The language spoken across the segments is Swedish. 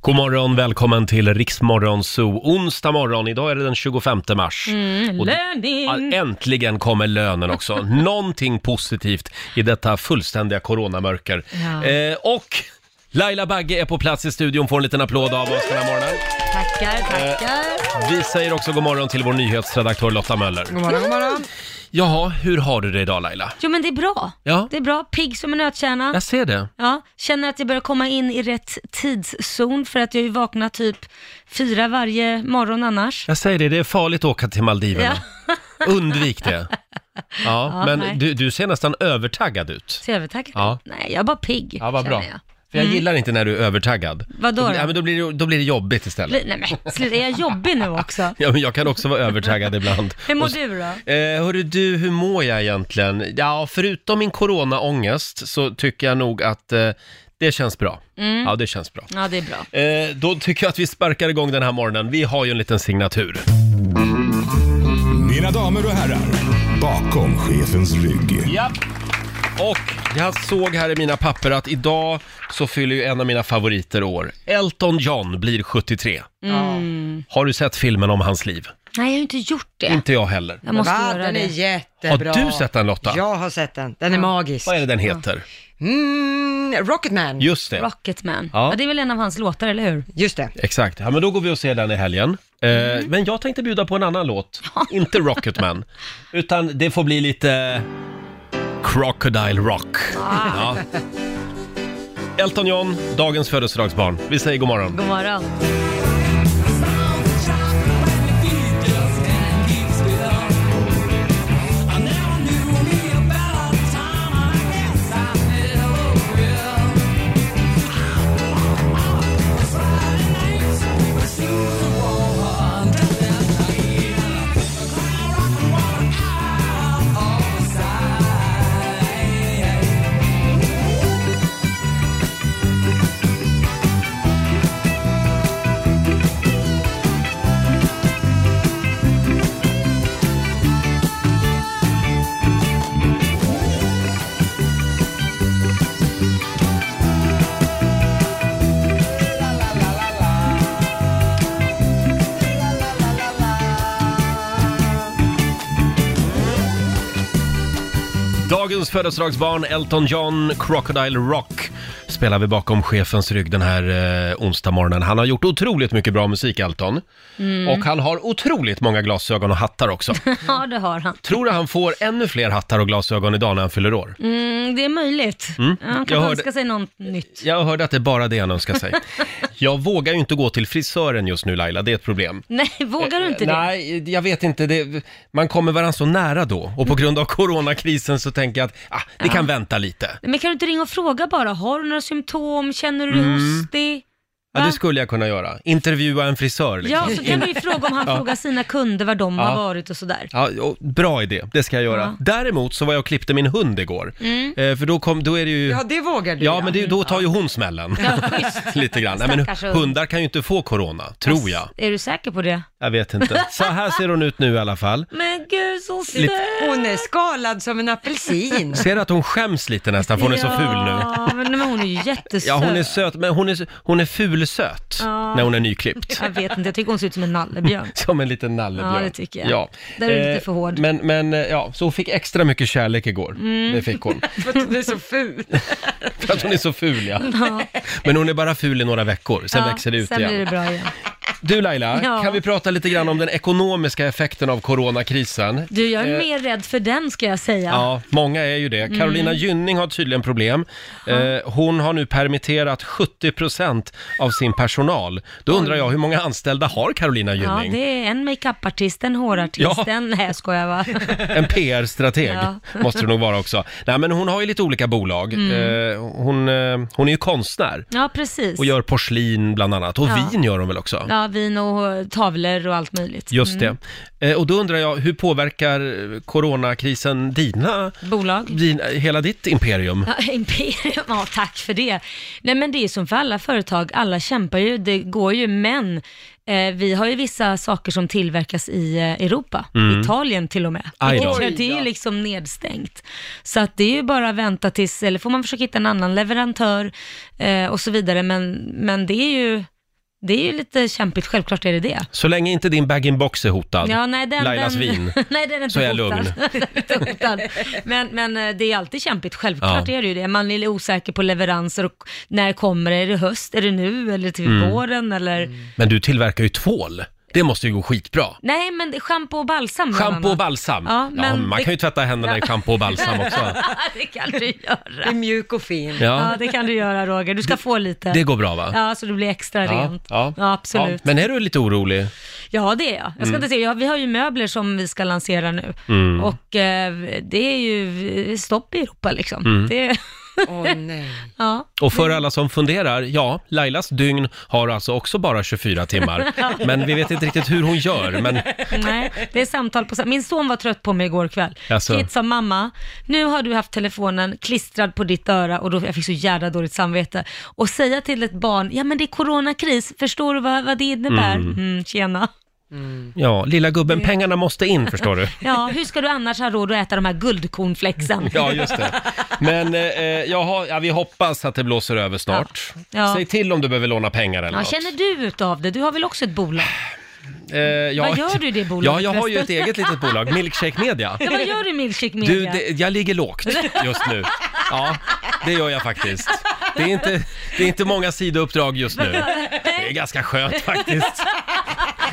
God morgon, välkommen till Riksmorgon Zoo. Onsdag morgon, idag är det den 25 mars. Mm, Och- löning! Ja, Äntligen kommer lönen också. Någonting positivt i detta fullständiga coronamörker. Ja. Eh, och Laila Bagge är på plats i studion, får en liten applåd av oss den här morgonen. Tackar, eh, tackar. Vi säger också god morgon till vår nyhetsredaktör Lotta Möller. God morgon, god morgon. Jaha, hur har du det idag Laila? Jo men det är bra. Ja, Det är bra, pigg som en nötkärna. jag ser det. Ja, känner att jag börjar komma in i rätt tidszon för att jag ju vaknar typ fyra varje morgon annars. Jag säger det, det är farligt att åka till Maldiverna. Ja, Undvik det. Ja, Ja, nej. men du, du ser nästan övertaggad ut. så övertaggad. Ja. Nej, jag är bara pigg. Ja, vad bra. känner jag. För jag gillar inte när du är övertaggad. Vadå då? Ja, men då, blir det, då blir det jobbigt istället. Bli- Nej men sluta, är jag jobbig nu också? Ja, men jag kan också vara övertaggad ibland. Hur mår Och s- du då? Eh, hörru du, hur mår jag egentligen? Ja, förutom min coronaångest så tycker jag nog att eh, det känns bra. Mm. Ja, det känns bra. Ja, det är bra. Eh, då tycker jag att vi sparkar igång den här morgonen. Vi har ju en liten signatur. Mina damer och herrar, bakom chefens rygg. Ja. Och jag såg här i mina papper att idag så fyller ju en av mina favoriter år. Elton John blir 73. Har du sett filmen om hans liv? Nej, jag har ju inte gjort det. Inte jag heller. Jag måste Va, göra den är det. jättebra. Har du sett den, Lotta? Jag har sett den. Den är magisk. Vad är det den heter? Mm, Rocketman. Just det. Rocketman. Ja. Ja. det är väl en av hans låtar, eller hur? Just det. Exakt. Ja, men då går vi och ser den i helgen. Eh, Men jag tänkte bjuda på en annan låt. Inte Rocketman. Utan det får bli lite Crocodile Rock. Ja. Elton John, dagens födelsedagsbarn. Vi säger god morgon. God morgon. Dagens födelsedagsbarn Elton John, Crocodile Rock spelar vi bakom chefens rygg den här eh, onsdag morgonen. Han har gjort otroligt mycket bra musik, Elton. Mm. Och han har otroligt många glasögon och hattar också. Ja, det har han. Tror du han får ännu fler hattar och glasögon idag när han fyller år? Mm, det är möjligt. Ja, Han Jag kan hörde- önska sig något nytt. Jag hörde att det är bara det han önskar sig. Jag vågar ju inte gå till frisören just nu Laila, det är ett problem. Nej, vågar du inte det? Eh, Nej, jag vet inte. Det, man kommer varandra så nära då. Och på grund av coronakrisen så tänker jag att ah, det kan vänta lite. Men kan du inte ringa och fråga bara? Har du några symptom? Känner du dig hostig? Mm. Ja, Va? det skulle jag kunna göra. Intervjua en frisör liksom. Ja, så kan du ju fråga om han frågar sina kunder var de har varit och sådär. Ja, och bra idé, det ska jag göra. Ja. Mm. Däremot så var jag och klippte min hund igår. Eh, för då, kom, då är det ju... Ja, det vågar du. Ja, men det, då tar ju hon smällen. Lite grann. Nej, men Stackars hund. hundar kan ju inte få corona, tror jag. Är du säker på det? Jag vet inte. Så här ser hon ut nu i alla fall. Men gud så söt! Lite- Hon är skalad som en apelsin. Ser att hon skäms lite nästan, för hon är så ful nu. Ja, men, men hon är ju jättesöt. Ja, hon är söt, men hon är, hon är fulsöt Ja. när hon är nyklippt. Jag vet inte, jag tycker hon ser ut som en nallebjörn. Som en liten nallebjörn. Ja, det tycker jag. Där är du lite för hård. Mm. Men, men eh, ja, så hon fick extra mycket kärlek igår. Det fick hon. För att hon är så ful. För att hon är så ful ja. Men hon är bara ful i några veckor, sen Ja, växer det ut sen igen. blir det bra igen. Du Laila, Ja. kan vi prata lite grann om den ekonomiska effekten av coronakrisen? Du, jag är Eh, mer rädd för den ska jag säga. Ja, många är ju Mm. det. Carolina Gynning har tydligen problem. Eh, hon har nu permitterat 70% av sin personal. Då undrar jag, hur många anställda har Carolina Ja, Gynning? det är en makeupartist, en hårartist, Ja. en... Nej, jag skojar va? En PR-strateg Ja. Mm. måste det nog vara också. Nej, men hon har ju lite olika bolag. Eh, hon, eh, hon är ju konstnär Ja, precis. och gör porslin bland annat. Och Ja. vin gör hon väl också? Ja, vin och eh, tavlor och allt möjligt. Just det. Eh, Och då undrar jag, hur påverkar eh, coronakrisen dina, Bolag. din, hela ditt imperium? Ja, Imperium, ja tack för det. Nej men det är som för alla företag, alla kämpar ju, det går ju, men eh, vi har ju vissa saker som tillverkas i eh, Europa, Italien till och med. Mm. Aj då. Vilket gör- Det är ju liksom nedstängt. Så att det är ju bara att vänta tills, eller får man försöka hitta en annan leverantör eh, och så vidare, men, men det är ju Det är ju lite kämpigt, självklart är det det. Så länge inte din bag-in-box är hotad, Ja, nej, den, Lailas den, vin, nej, den är inte så är jag hotad. lugn. Den är inte hotad. men, men eh, det är alltid kämpigt, självklart Ja. är det ju det. Man är osäker på leveranser och när kommer det? Är det höst? Är det nu? Eller till Mm. våren? Eller... Men du tillverkar ju tvål. Det måste ju gå skitbra. Nej, men det- schampo och balsam bland Schampo och annat. balsam. Ja, Ja, men man det- kan ju tvätta händerna i schampo och balsam också. det kan du Det är göra. mjuk och fin. Ja, Ja, det kan du göra Roger. Du ska få lite. det går bra va? Ja, så det blir extra rent. Ja, absolut. Ja, Men Mm. är du lite orolig? det är jag. Jag ska inte säga, ja, vi har ju möbler som vi ska lansera nu. Mm. Och eh, det är ju eh, stopp i Europa liksom. Mm. Det, Åh nej. ja. Och för alla som funderar, ja, Lailas dygn har alltså också bara 24 timmar. Men vi vet inte riktigt hur hon gör, men Nej, det är samtal på sam- Min son var trött på mig igår kväll. Jaså? Kit sa, mamma, nu har du haft telefonen klistrad på ditt öra och då, jag fick så jävla dåligt samvete. Och säga till ett barn, ja men det är coronakris, förstår du vad, vad det innebär? Mm. tjena. ja, lilla gubben, pengarna måste in förstår du. Ja, hur ska du annars ha råd att äta de här guldkornflexen? Ja, just det. Men eh, eh, jaha, ja, vi hoppas att det blåser över snart. Ja. Ja. Säg till om du behöver låna pengar eller Ja, något. känner du utav det? Du har väl också ett bolag? Eh, ja. Vad gör du i det bolaget Ja, jag har ju ett förresten? eget litet bolag, Milkshake Media. Ja, vad gör du i Milkshake Du, Media? det, jag ligger lågt just nu. Ja, det gör jag faktiskt. Det är inte, det är inte många sidouppdrag just nu. Det är ganska skönt faktiskt.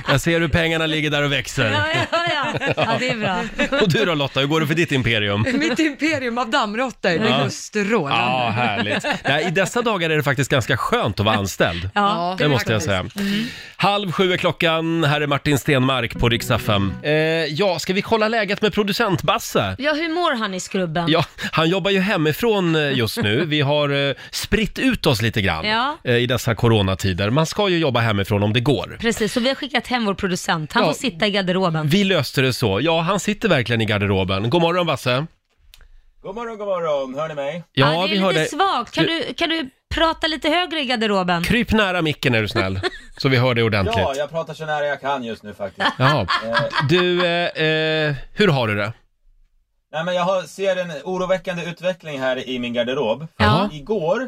Jag ser hur pengarna ligger där och växer. Ja, ja, ja. ja, det är bra. Och du då Lotta, hur går det för ditt imperium? Mitt imperium av dammråttor, det är just strålande. Ja, härligt. Nej, I dessa dagar är det faktiskt ganska skönt att vara anställd. Ja. Det måste jag säga. Mm. Halv sju är klockan, här är Martin Stenmark på Rix FM. Eh, ja, ska vi kolla läget med producent Basse? ja, hur mår han i skrubben? Ja, han jobbar ju hemifrån eh, just nu. Vi har eh, spritt ut oss lite grann Ja. eh, i dessa coronatider. Man ska ju jobba hemifrån om det går. Precis, så vi har skickat hem vår producent. Han Ja. får sitta i garderoben. Vi löste det så. Ja, han sitter verkligen i garderoben. God morgon Basse. God morgon, god morgon. Hör ni mig? Ja, det är lite hör dig. svagt. Kan du, kan du prata lite högre i garderoben? Kryp nära micken är du snäll, så vi hör dig ordentligt. Ja, jag pratar så nära jag kan just nu faktiskt. Jaha. Du, eh, eh, hur har du det? Nej, men jag har, ser en oroväckande utveckling här i min garderob. Ja. Igår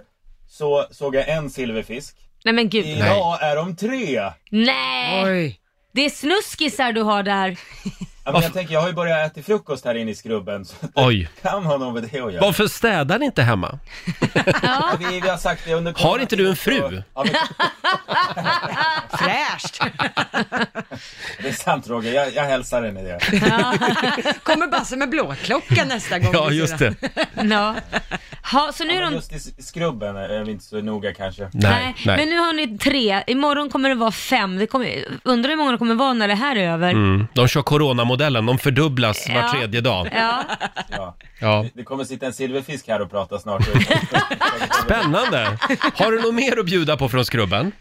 så såg jag en silverfisk. Nej men gud. Idag är de tre. Ja, Nej! Oj. Det är snuskisar du har där. men jag tänker, jag har ju börjat äta frukost här inne i skrubben. Så det Oj, kan ha något med det att göra. varför städar ni inte hemma? Ja. Vi, vi har sagt det under Har inte du en fru? coronatiden, så- Ja, men, Fräscht. det är sant Roger, jag, jag hälsar henne det. Kommer Basse med blåklocka nästa gång. Ja, vi ser just den. det. ja. Ha, så nu är Men de... just i skrubben är vi inte så noga kanske. Nej, Men nej. nu har ni tre. Imorgon kommer det vara fem. Det kommer, undrar hur många det kommer vara när det här är över. Mm. De kör coronamodellen, de fördubblas var Ja. tredje dag. Ja. Ja. Ja. Det kommer sitta en silverfisk här och prata snart. Spännande! Har du något mer att bjuda på från skrubben?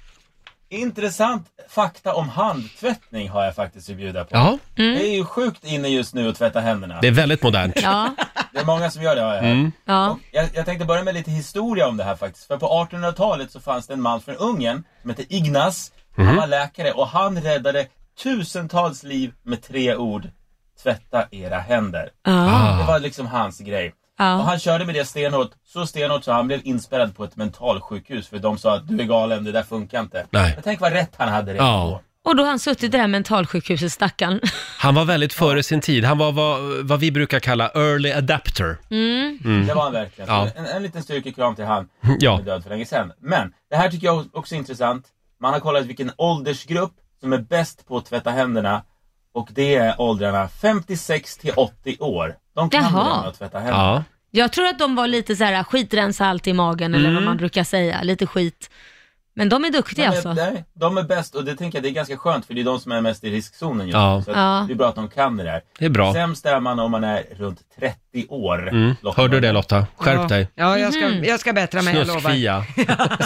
Intressant fakta om handtvättning har jag faktiskt att bjuda på. Ja, Mm. Det är ju sjukt inne just nu att tvätta händerna. det Mm. är väldigt modernt. Ja. Det är många som gör det har jag hört. ja. jag, jag tänkte börja med lite historia om det här faktiskt. För på 1800-talet så fanns det en man från Ungern som hette Ignaz. Han Mhm. var läkare och han räddade tusentals liv med tre ord. Tvätta era händer. Ah. Det var liksom hans grej. Ja. Och han körde med det stenhårt, så stenhårt så han blev inspärrad på ett mentalsjukhus för de sa att du är galen, det där funkar inte. Nej. Men tänk vad rätt han hade redan Ja. då. Och då har han suttit i det här mentalsjukhuset, stackarn. Han var väldigt före sin tid. Han var vad, vad vi brukar kalla early adapter. Det var han verkligen. Ja. Så En, en liten styrkekram till han. Ja. som är död för länge sedan. Men det här tycker jag också är intressant. Man har kollat vilken åldersgrupp som är bäst på att tvätta händerna och det är åldrarna 56 till 80 år. De kan Jaha. det här med att tvätta händerna. Ja. Jag tror att de var lite så här skitrensa allt i magen eller vad man brukar säga, lite skit. Men de är duktiga Men, alltså. nej, de är bäst och det tänker jag det är ganska skönt för det är de som är mest i riskzonen just Ja. nu. Så att Ja. det är bra att de kan det där. Det är bra. Sämst är man om man är runt 30 år. Mm. Lotta. Hörde du det Lotta? Skärp dig. Ja, jag Mm-hmm. ska, jag ska bättra mig, jag lovar. Snuskfia.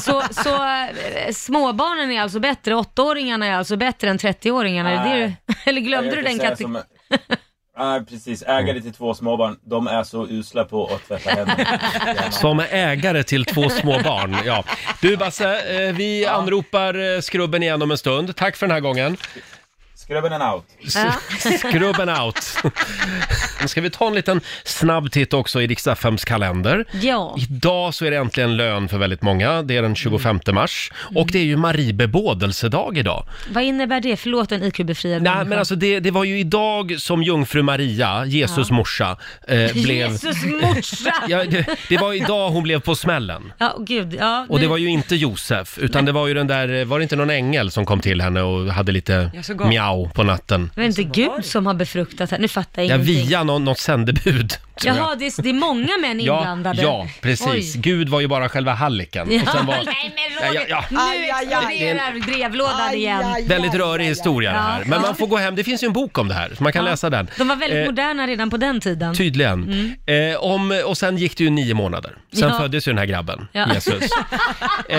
Så, så eh, småbarnen är alltså bättre, åttaåringarna är alltså bättre än 30-åringarna? Är det det du- Nej. Eller glömde Jag du kan den säga kategorin? som- Nej precis, ägare till två småbarn, de är så usla på att tvätta händerna. Som är ägare till två små barn. Ja. Du Basse, eh, vi anropar eh, skrubben igen om en stund. Tack för den här gången. Skrubben and out. Ja. Skrubben out. Nu ska vi ta en liten snabb titt också i riksdagsfems kalender. Ja. Idag så är det äntligen lön för väldigt många. Det är den 25 Mm. mars. Och det är ju Marie bebådelsedag idag. Vad innebär det? Förlåt en IQ-befriad Nej, men alltså det, det var ju idag som jungfru Maria, Jesus morsa, eh, blev... Jesus morsa! ja. Ja, det, det var idag hon blev på smällen. åh, gud. Ja, Och nu- det var ju inte Josef, utan det var ju den där, eh, var det inte någon ängel som kom till henne och hade lite Ja, så gav- miau på natten? det var inte Gud som har befruktat här. Nu fattar jag Ja, ingenting. via någon, något sändebud. tror jag. Jaha, det är, det är många män Ja, inblandade. ja, precis. Oj. Gud var ju bara själva hallicken. Och sen var... Nej men Ja, ja, Roger, ja. nu Aj, aj, aj. exploderar brevlådan igen. Väldigt rörig historia det här. Ja. Men man får gå hem, det finns ju en bok om det här, så man kan Ja. läsa den. De var väldigt Eh, moderna redan på den tiden. Tydligen. Eh, om, och sen gick det ju nio månader. Sen Ja. föddes ju den här grabben, Ja. Jesus. Eh,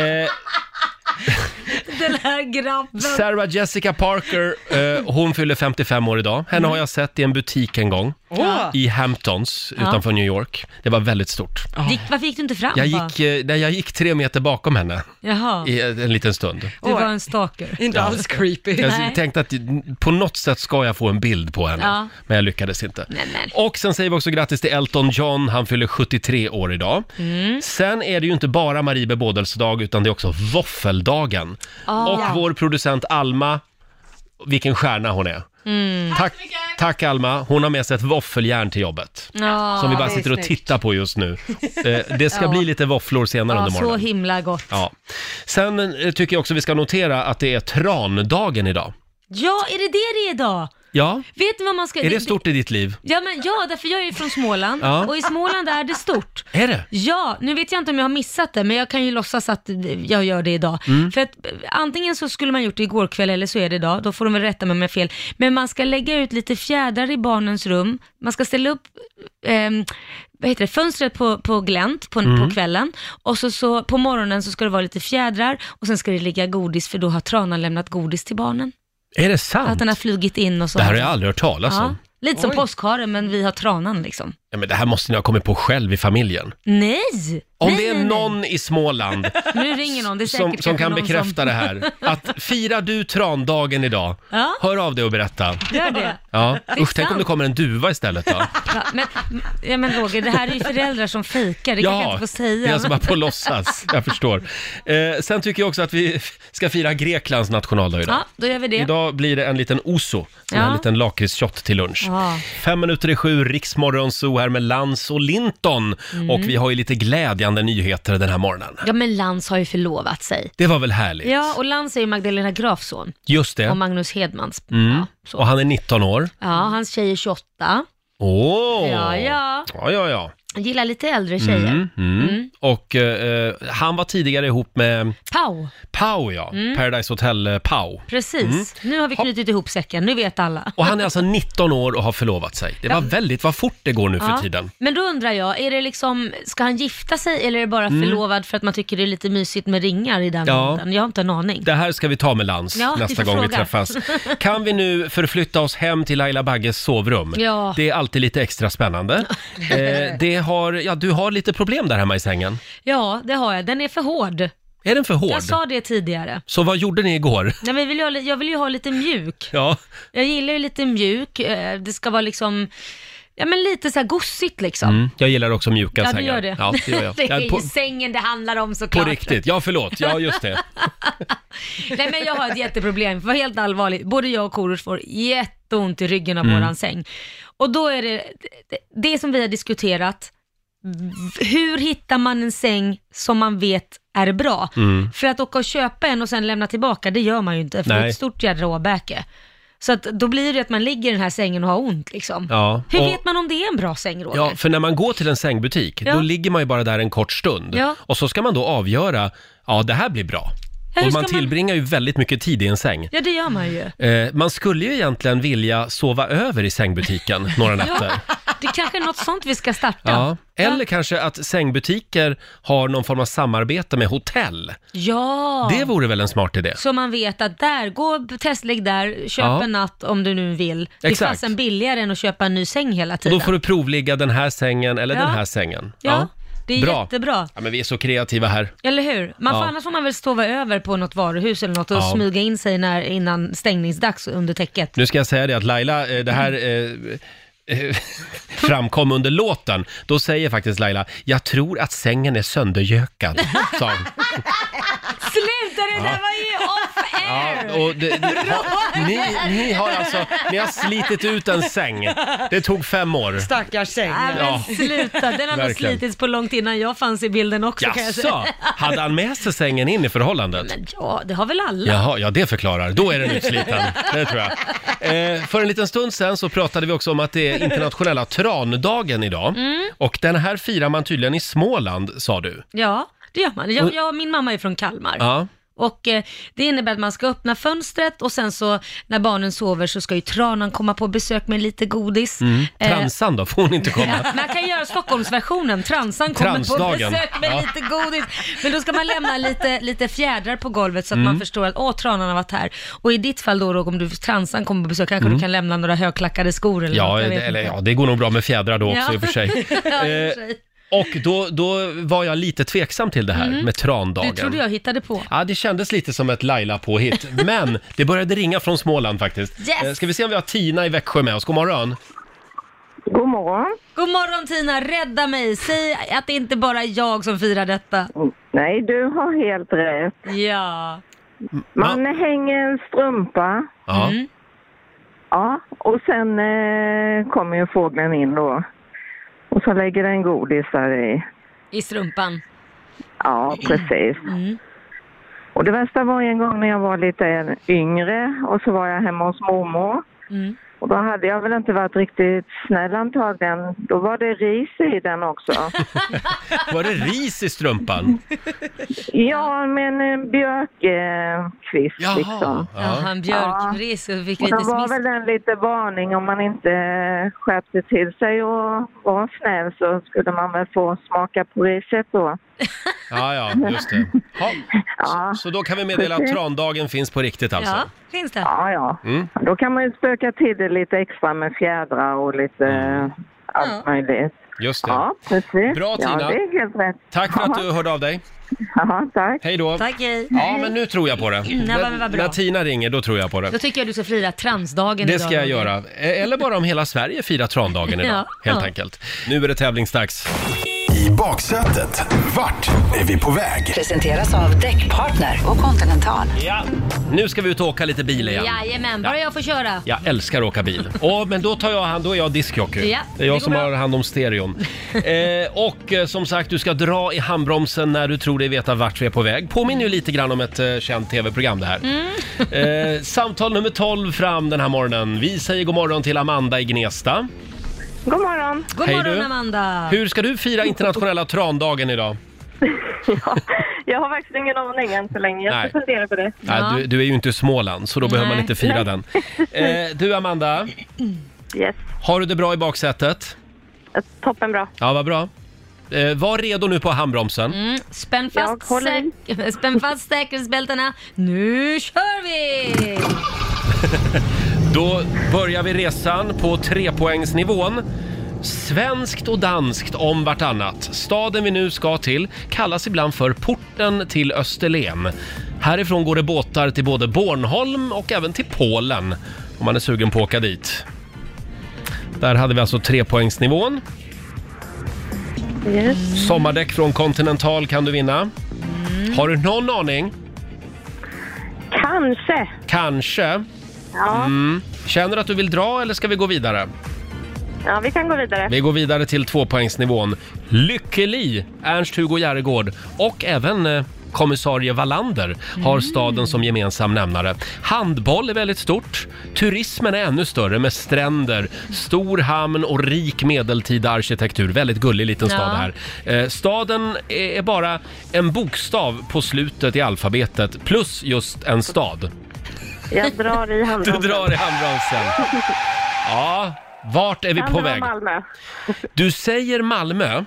Den här grabben. Sarah Jessica Parker, eh, hon fyller 55 år idag. Henne Mm. har jag sett i en butik en gång. Åh. I Hamptons utanför New York. Det var väldigt stort. Gick, varför gick du inte fram Jag bara? gick, eh, nej, jag gick tre meter bakom henne Jaha, i en en liten stund. du var en stalker. Inte alls creepy. Jag Nej. tänkte att på något sätt ska jag få en bild på henne, Ja. men jag lyckades inte. Nej, men. Och sen säger vi också grattis till Elton John, han fyller 73 år idag. Mm. Sen är det ju inte bara Marie bebådelsedag, utan det är också våffeldagen. Ah, Och vår producent Alma, vilken stjärna hon är. Mm. Tack, tack Alma, hon har med sig ett våffeljärn till jobbet. Ja, Som vi bara det är sitter och snyggt. tittar på just nu. Eh, Det ska bli lite våfflor senare ja under så morgonen. himla gott. Ja. Ja. Sen eh, tycker jag också vi ska notera att det är trandagen idag. är det det det är idag? Ja, Vet ni vad man ska... är det stort i ditt liv? Ja, men, ja, därför jag är ju från Småland Ja. och i Småland är det stort. Är det? Ja, nu vet jag inte om jag har missat det, men jag kan ju låtsas att jag gör det idag. Mm. För att eh, antingen så skulle man gjort det igår kväll eller så är det idag, då får de väl rätta mig om jag har fel. Men man ska lägga ut lite fjädrar i barnens rum, man ska ställa upp ehm, vad heter det, fönstret på, på glänt på, Mm. på kvällen och så, så på morgonen så ska det vara lite fjädrar och sen ska det ligga godis för då har tranan lämnat godis till barnen. Är det sant? Att den har flugit in och så. Det här alltså? har jag aldrig hört talas om. ja, Lite som påskharen men vi har tranan liksom. Ja, men det här måste ni ha kommit på själv i familjen. Nej! Om nej, det är nej, nej. någon i Småland Nu ringer någon, det är som, säkert som kanske kan någon bekräfta det här, att firar du trandagen idag, Ja. hör av dig och berätta. Som... Gör det. Ja. är Usch, tänk om sant. det kommer en duva istället då. Ja, men, ja, men Roger, det här är ju föräldrar som fejkar, det kan jag inte få det är säga. alltså bara på låtsas. Jag förstår. Eh, sen tycker jag också att vi ska fira Greklands nationaldag idag. Ja, då gör vi det. Idag blir det en liten ouzo, en Ja. här liten lakritsshot till lunch. Ja. Fem minuter i sju, Riksmorgon Zoo här med Lans och Linton. Mm. Och vi har ju lite glädjande nyheter den här morgonen. Ja, men Lans har ju förlovat sig. Det var väl härligt? Ja, och Lans är ju Magdalena Grafs son Just det. och Magnus Hedmans. Mm. Ja, så. Och han är 19 år. ja, hans tjej är 28. Åh! Ja, ja. Ja, ja, ja. Han gillar lite äldre tjejer. Mm, mm. Och eh, han var tidigare ihop med Pau, Pau, ja. Mm. Paradise Hotel eh, Pau. precis. Mm. Nu har vi knutit ihop säcken, nu vet alla. Och han är alltså 19 år och har förlovat sig. Det var väldigt, vad fort det går nu Ja. för tiden. Men då undrar jag, är det liksom, ska han gifta sig eller är det bara förlovad för att man tycker det är lite mysigt med ringar i den Mm. Ja. åldern? Jag har inte en aning. Det här ska vi ta med Lans Ja, vi nästa får gång vi fråga. träffas. Kan vi nu förflytta oss hem till Laila Bagges sovrum? Ja. Det är alltid lite extra spännande. eh, det har, ja, du har lite problem där hemma i sängen. Ja, det har jag. Den är för hård. Är den för hård? Jag sa det tidigare. Så vad gjorde ni igår? Nej, men jag, vill ju ha, li- jag vill ju ha lite mjuk. Ja, Jag gillar ju lite mjuk. eh, Det ska vara liksom, ja men lite så här gossigt liksom. mm, jag gillar också mjuka Ja, du sängar. gör det. Ja, det gör jag. det är Ja, ju på, sängen det handlar om såklart. på riktigt. Ja, förlåt. Ja, just det. Nej men jag har ett jätteproblem, för att vara helt allvarligt. Både jag och Korosh får jätteont i ryggen av Mm. våran säng. Och då är det, det, det som vi har diskuterat, v- hur hittar man en säng som man vet är bra? För att åka och köpa en och sen lämna tillbaka, det gör man ju inte, för det är Mm. Nej. ett stort jädra åbäke. Så att då blir det att man ligger i den här sängen och har ont liksom. Ja, Hur och- vet man om det är en bra säng Roger? Ja, för när man går till en sängbutik, Ja. då ligger man ju bara där en kort stund. Ja. Och så ska man då avgöra, ja det här blir bra. Ja, hur och man ska man- tillbringar ju väldigt mycket tid i en säng. Ja, det gör man ju. Eh, man skulle ju egentligen vilja sova över i sängbutiken några nätter. Det är kanske är något sånt vi ska starta. Ja. Eller kanske att sängbutiker har någon form av samarbete med hotell. Ja. Det vore väl en smart idé? Så man vet att där, gå testlägg där, köp Ja. en natt om du nu vill. Det är Exakt. fasen billigare än att köpa en ny säng hela Och tiden. då får du provligga den här sängen eller Ja. den här sängen. ja. Ja. Det är Bra. jättebra. Ja, men vi är så kreativa här. Eller hur? Man får, Ja. Annars får man väl sova över på något varuhus eller något och Ja. smyga in sig när, innan stängningsdags under täcket. Nu ska jag säga det att Laila, eh, det här eh, eh, framkom under låten. Då säger faktiskt Laila, jag tror att sängen är söndergökad. sa hon. Sluta det där var ju off air! Ja, och det, ni, ni, ni har alltså, ni har slitit ut en säng. Det tog fem år. Stackars säng. Nej men Ja. sluta, den har nog Verkligen. slitits på långt innan jag fanns i bilden också kan jag säga. Jaså, hade han med sig sängen in i förhållandet? Men ja, det har väl alla? Jaha, ja det förklarar. Då är den utsliten, det tror jag. Eh, för en liten stund sen så pratade vi också om att det är internationella trandagen idag. Mm. Och den här firar man tydligen i Småland, sa du. Ja, det gör man. Jag, jag, min mamma är från Kalmar. Ja. Och eh, det innebär att man ska öppna fönstret och sen så när barnen sover så ska ju tranan komma på besök med lite godis. Mm. Eh, Transan då, får hon inte komma? Man kan göra Stockholmsversionen, transan kommer på Transdagen. besök med Ja. lite godis. Men då ska man lämna lite, lite fjädrar på golvet så att Mm. man förstår att åh, tranan har varit här. Och i ditt fall då, Roger, om du transan kommer på besök kanske du kan lämna några högklackade skor eller Mm. Ja, något, jag vet det, eller, inte. ja, det går nog bra med fjädrar då också Ja. i och för sig. Ja, i och för Eh, sig. Och då, då var jag lite tveksam till det här med Mm. Du trandagen. trodde jag hittade på. Ja, det kändes lite som ett Laila-påhitt, men det började ringa från Småland faktiskt. Yes! Eh, Ska vi se om vi har Tina i Växjö med oss? God morgon. God morgon. God morgon Tina, rädda mig. Säg att det inte bara är jag som firar detta. Nej, du har helt rätt. Ja. Man hänger en strumpa. Ja. Mm. Ja, och sen eh, kommer ju fågeln in då. Och så lägger den godis där i. I strumpan. Ja, precis. mm, Och det värsta var en gång när jag var lite yngre och så var jag hemma hos mormor. Mm. Och då hade jag väl inte varit riktigt snäll antagligen. Då var det ris i den också. Var det ris i strumpan? ja, men en björkkvist Jaha. liksom. Jaha, Ja. en björkris och fick Och lite då var smisk. väl den lite varning om man inte eh, skärpte till sig och var snäll så skulle man väl få smaka på riset då. ja, ja, just det. Ha. Ja, Så då kan vi meddela att trandagen finns på riktigt alltså? Ja, finns det. ja. ja. Mm. Då kan man ju spöka till det lite extra med fjädrar och lite allt möjligt. Just det. Ja, precis. Mm. Bra, Tina. Ja, det är helt rätt. Tack för att du hörde av dig. Ja, tack. Hej då. Tack, hej. Ja, men nu tror jag på det. men vad När, bra. när Tina ringer, då tror jag på Då det. tycker jag du ska fira transdagen Det idag, ska jag Roger. göra. E- Eller bara om hela Sverige firar trandagen idag, Ja. helt Ja. enkelt. Nu är det tävlingsdags. I baksätet. Vart är vi på väg? Presenteras av Däckpartner och Continental. Ja. Nu ska vi ut och åka lite bil igen. Jajamän, bara jag får köra. Jag älskar att åka bil. Åh, men då tar jag hand, då är jag diskjockey. Ja, det är det går jag som bra. har hand om stereon. Eh, och eh, som sagt, du ska dra i handbromsen när du tror dig veta vart vi är på väg. Påminner ju lite grann om ett eh, känt tv-program det här. Mm. Eh, samtal nummer 12 fram den här morgonen. Vi säger god morgon till Amanda i Gnesta. God morgon. God Hej morgon du. Amanda. Hur ska du fira internationella trandagen idag? Ja, jag har faktiskt ingen aning än så länge. Jag ska Nej. fundera på det. Nej, Ja. du, du är ju inte i Småland, så då behöver man Nej. inte fira den. Eh, du Amanda, Yes, har du det bra i baksätet? toppen bra. Ja, vad bra. Eh, var redo nu på handbromsen. Mm, spänn, Jag fast håller i. säk- spänn fast säkerhetsbältena. Nu kör vi! Då börjar vi resan på trepoängsnivån. Svenskt och danskt om vartannat. Staden vi nu ska till kallas ibland för porten till Österlen. Härifrån går det båtar till både Bornholm och även till Polen om man är sugen på att åka dit. Där hade vi alltså trepoängsnivån. Sommardäck från Continental kan du vinna. Har du någon aning? Kanske. Kanske. Mm. Ja, Känner du att du vill dra eller ska vi gå vidare? ja vi kan gå vidare. Vi går vidare till tvåpoängsnivån. Lyckeli, Ernst-Hugo Järegård och även eh, kommissarie Wallander har staden som gemensam nämnare. Handboll är väldigt stort. Turismen är ännu större med stränder, stor hamn och rik medeltida arkitektur. Väldigt gullig liten stad Ja. här. Eh, staden är bara en bokstav på slutet i alfabetet plus just en stad. Jag drar i Du handbromsen. drar i handbromsen. Ja, vart är vi på Andra väg? Malmö. Du säger Malmö.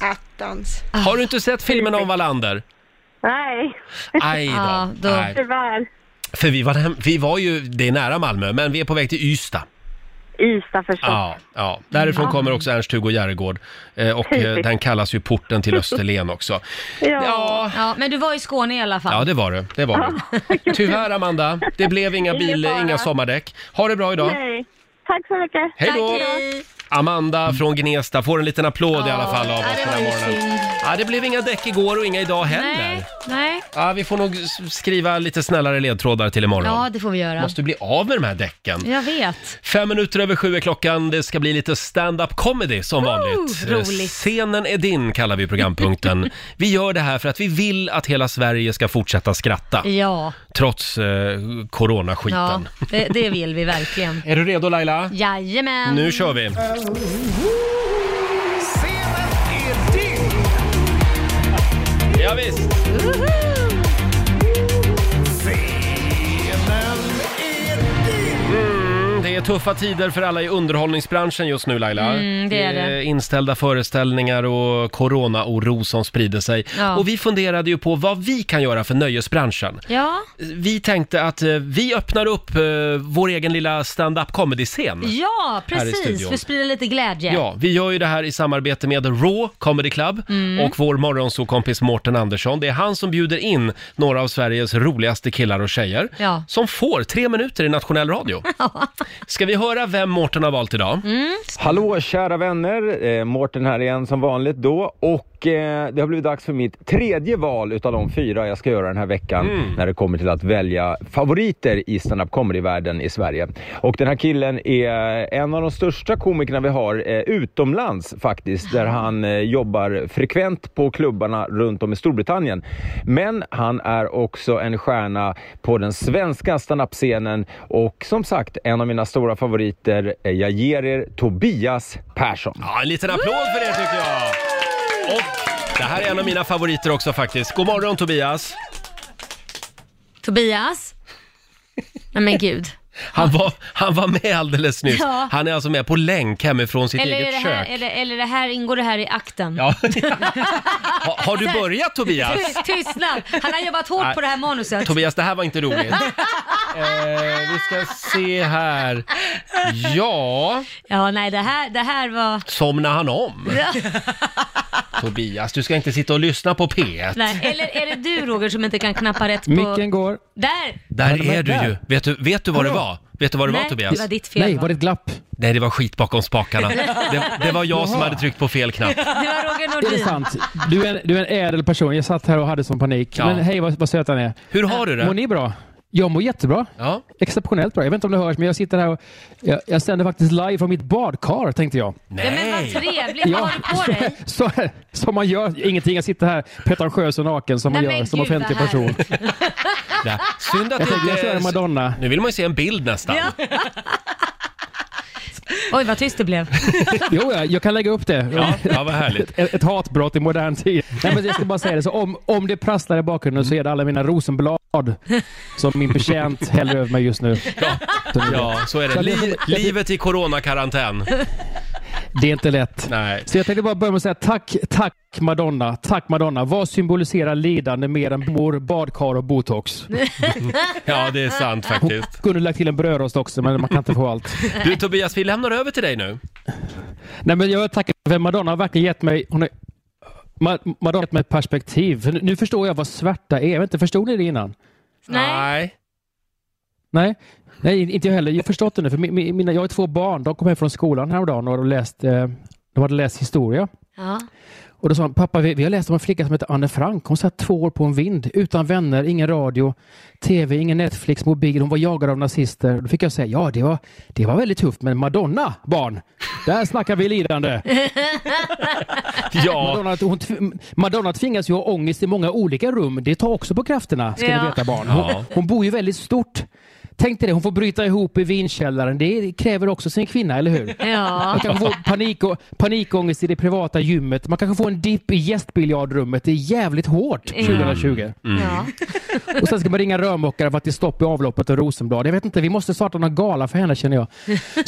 Attans. Har du inte sett filmen om Wallander? Nej, Aj då. Ja, då- Nej. tyvärr. För vi var, hem- vi var ju, det är nära Malmö, men vi är på väg till Ystad. Ystad förstås. Ja, ja. Därifrån kommer också Ernst-Hugo Järregård. Eh, och eh, den kallas ju porten till Österlen också. Ja. Ja, men du var i Skåne i alla fall. Ja, det var det. Det var det. Tyvärr, Amanda, det blev inga bil, fara. inga sommardäck. Ha det bra idag. Nej. Tack så mycket. Hej då! Amanda från Gnesta får en liten applåd i alla fall av Ja, oss det den var här ju morgonen. synd. Ja, det blev inga däck igår och inga idag heller. Nej, nej. Ja, vi får nog s- skriva lite snällare ledtrådar till imorgon. Ja, det får vi göra. Måste bli av med de här däcken. Jag vet. Fem minuter över sju är klockan. Det ska bli lite stand-up comedy som vanligt. Eh, roligt. Scenen är din kallar vi programpunkten. vi gör det här för att vi vill att hela Sverige ska fortsätta skratta. Ja, Trots eh, ja coronaskiten. det, det vill vi verkligen. Är du redo Laila? Jajamän. Nu kör vi! Ja, visst. Mm, Det är tuffa tider för alla i underhållningsbranschen just nu Laila. Mm, det är det. är inställda föreställningar och coronaoro som sprider sig. Ja. Och vi funderade ju på vad vi kan göra för nöjesbranschen. Ja, Vi tänkte att eh, vi öppnar upp eh, vår egen lilla stand-up comedy-scen. ja Här i precis. studion. För att sprida lite glädje. Ja, vi gör ju det här i samarbete med Raw Comedy Club Mm. och vår morgonsokompis Mårten Andersson. Det är han som bjuder in några av Sveriges roligaste killar och tjejer Ja. som får tre minuter i nationell radio. Ska vi höra vem Mårten har valt idag? Mm. Hallå kära vänner, eh, Mårten här igen som vanligt då och eh, det har blivit dags för mitt tredje val utav de fyra jag ska göra den här veckan när det kommer till att välja favoriter i stand-up comedy-världen i Sverige. Och den här killen är en av de största komikerna vi har eh, utomlands faktiskt där han eh, jobbar frekvent på klubbarna runt om i Storbritannien. Men han är också en stjärna på den svenska standup-scenen och som sagt en av mina stora favoriter. eh, Jag ger er Tobias Persson. Ja, en liten applåd för det tycker jag! Och det här är en av mina favoriter också faktiskt. God morgon Tobias! Tobias? Nej men gud. Han var, han var med alldeles nyss. Ja. Han är alltså med på länk hemifrån sitt Eller, är eget det här, kök. är det, eller det här, ingår det här i akten? Ja. har, har du börjat Tobias? Ty- Tystnad! Han har jobbat Nej. hårt på det här manuset. Tobias, det här var inte roligt. eh, vi ska se här. Ja, Ja, nej det här, det här var... somnar han om? Tobias, du ska inte sitta och lyssna på P1. Nej. Eller är det du Roger som inte kan knappa rätt på... Micken går. Där! Där var är du där. ju. Vet du, vet du vad det var? Vet du vad det var Nej, Tobias? det var ditt fel. Nej, va? var det ett glapp? Nej, det var skit bakom spakarna. Det, det var jag som Jaha. hade tryckt på fel knapp. det var Roger Är det Nordin. sant? Du är, en, du är en ädel person. Jag satt här och hade sån panik. Ja. Men hej vad, vad söt han är. Hur har du Mår det? ni bra? Jag mår jättebra. Ja. Exceptionellt bra. Jag vet inte om det hörs, men jag sitter här och jag, jag sänder faktiskt live från mitt badkar, tänkte jag. Ja, men vad Nej. trevligt, vad har du på dig? så, som man gör. Ingenting. Jag sitter här pretentiös och naken som Nej, man men gör som gud, offentlig vad person. härligt. Nej. Synd att Jag tänkte jag det kör inte... Madonna. Nu vill man ju se en bild nästan. Ja. Oj, vad tyst det blev. Jo, jag, jag kan lägga upp det. Ja, ja, vad härligt. Ett, ett hatbrott i modern tid. Nej, men jag ska bara säga det. Så om, om det prasslar i bakgrunden så är det alla mina rosenblad som min betjänt häller över mig just nu. Så ni vet. Ja, så är det. Li- livet i coronakarantän. Det är inte lätt. Nej. Så jag tänkte bara börja med att säga tack, tack Madonna. Tack Madonna. Vad symboliserar lidande mer än mor, badkar och botox? Ja, det är sant faktiskt. Kunde lagt till en brödrost också, men man kan inte få allt. Du Tobias, vi lämnar över till dig nu. Nej, men jag tackar för Madonna har verkligen gett mig... Hon är, Ma- Madonna har gett mig ett perspektiv. För nu- Nu förstår jag vad svärta är. Jag vet inte, förstod ni det innan? Nej. Nej, nej inte jag heller. Jag har förstått det nu. För mi- mi- mina, jag har två barn. De kom hem från skolan häromdagen och hade läst, eh, de hade läst historia. Ja. Och då sa han, pappa vi, vi har läst om en flicka som heter Anne Frank. Hon satt två år på en vind utan vänner, ingen radio, tv, ingen Netflix, mobil. Hon var jagad av nazister. Då fick jag säga, ja det var, det var väldigt tufft men Madonna barn, där snackar vi lidande. Ja, Madonna, hon tv- Madonna tvingas ju ha ångest i många olika rum. Det tar också på krafterna, ska Ja. ni veta barn. Hon, Ja. hon bor ju väldigt stort. Tänk dig det, hon får bryta ihop i vinkällaren. Det kräver också sin kvinna, eller hur? Ja. Man kanske får panik och, panikångest i det privata gymmet. Man kanske får en dipp i gästbiljardrummet. Det är jävligt hårt 2020. ja. Och sen ska man ringa rörmokare för att det är stopp i avloppet och Rosenblad. Jag vet inte, vi måste starta någon gala för henne känner jag.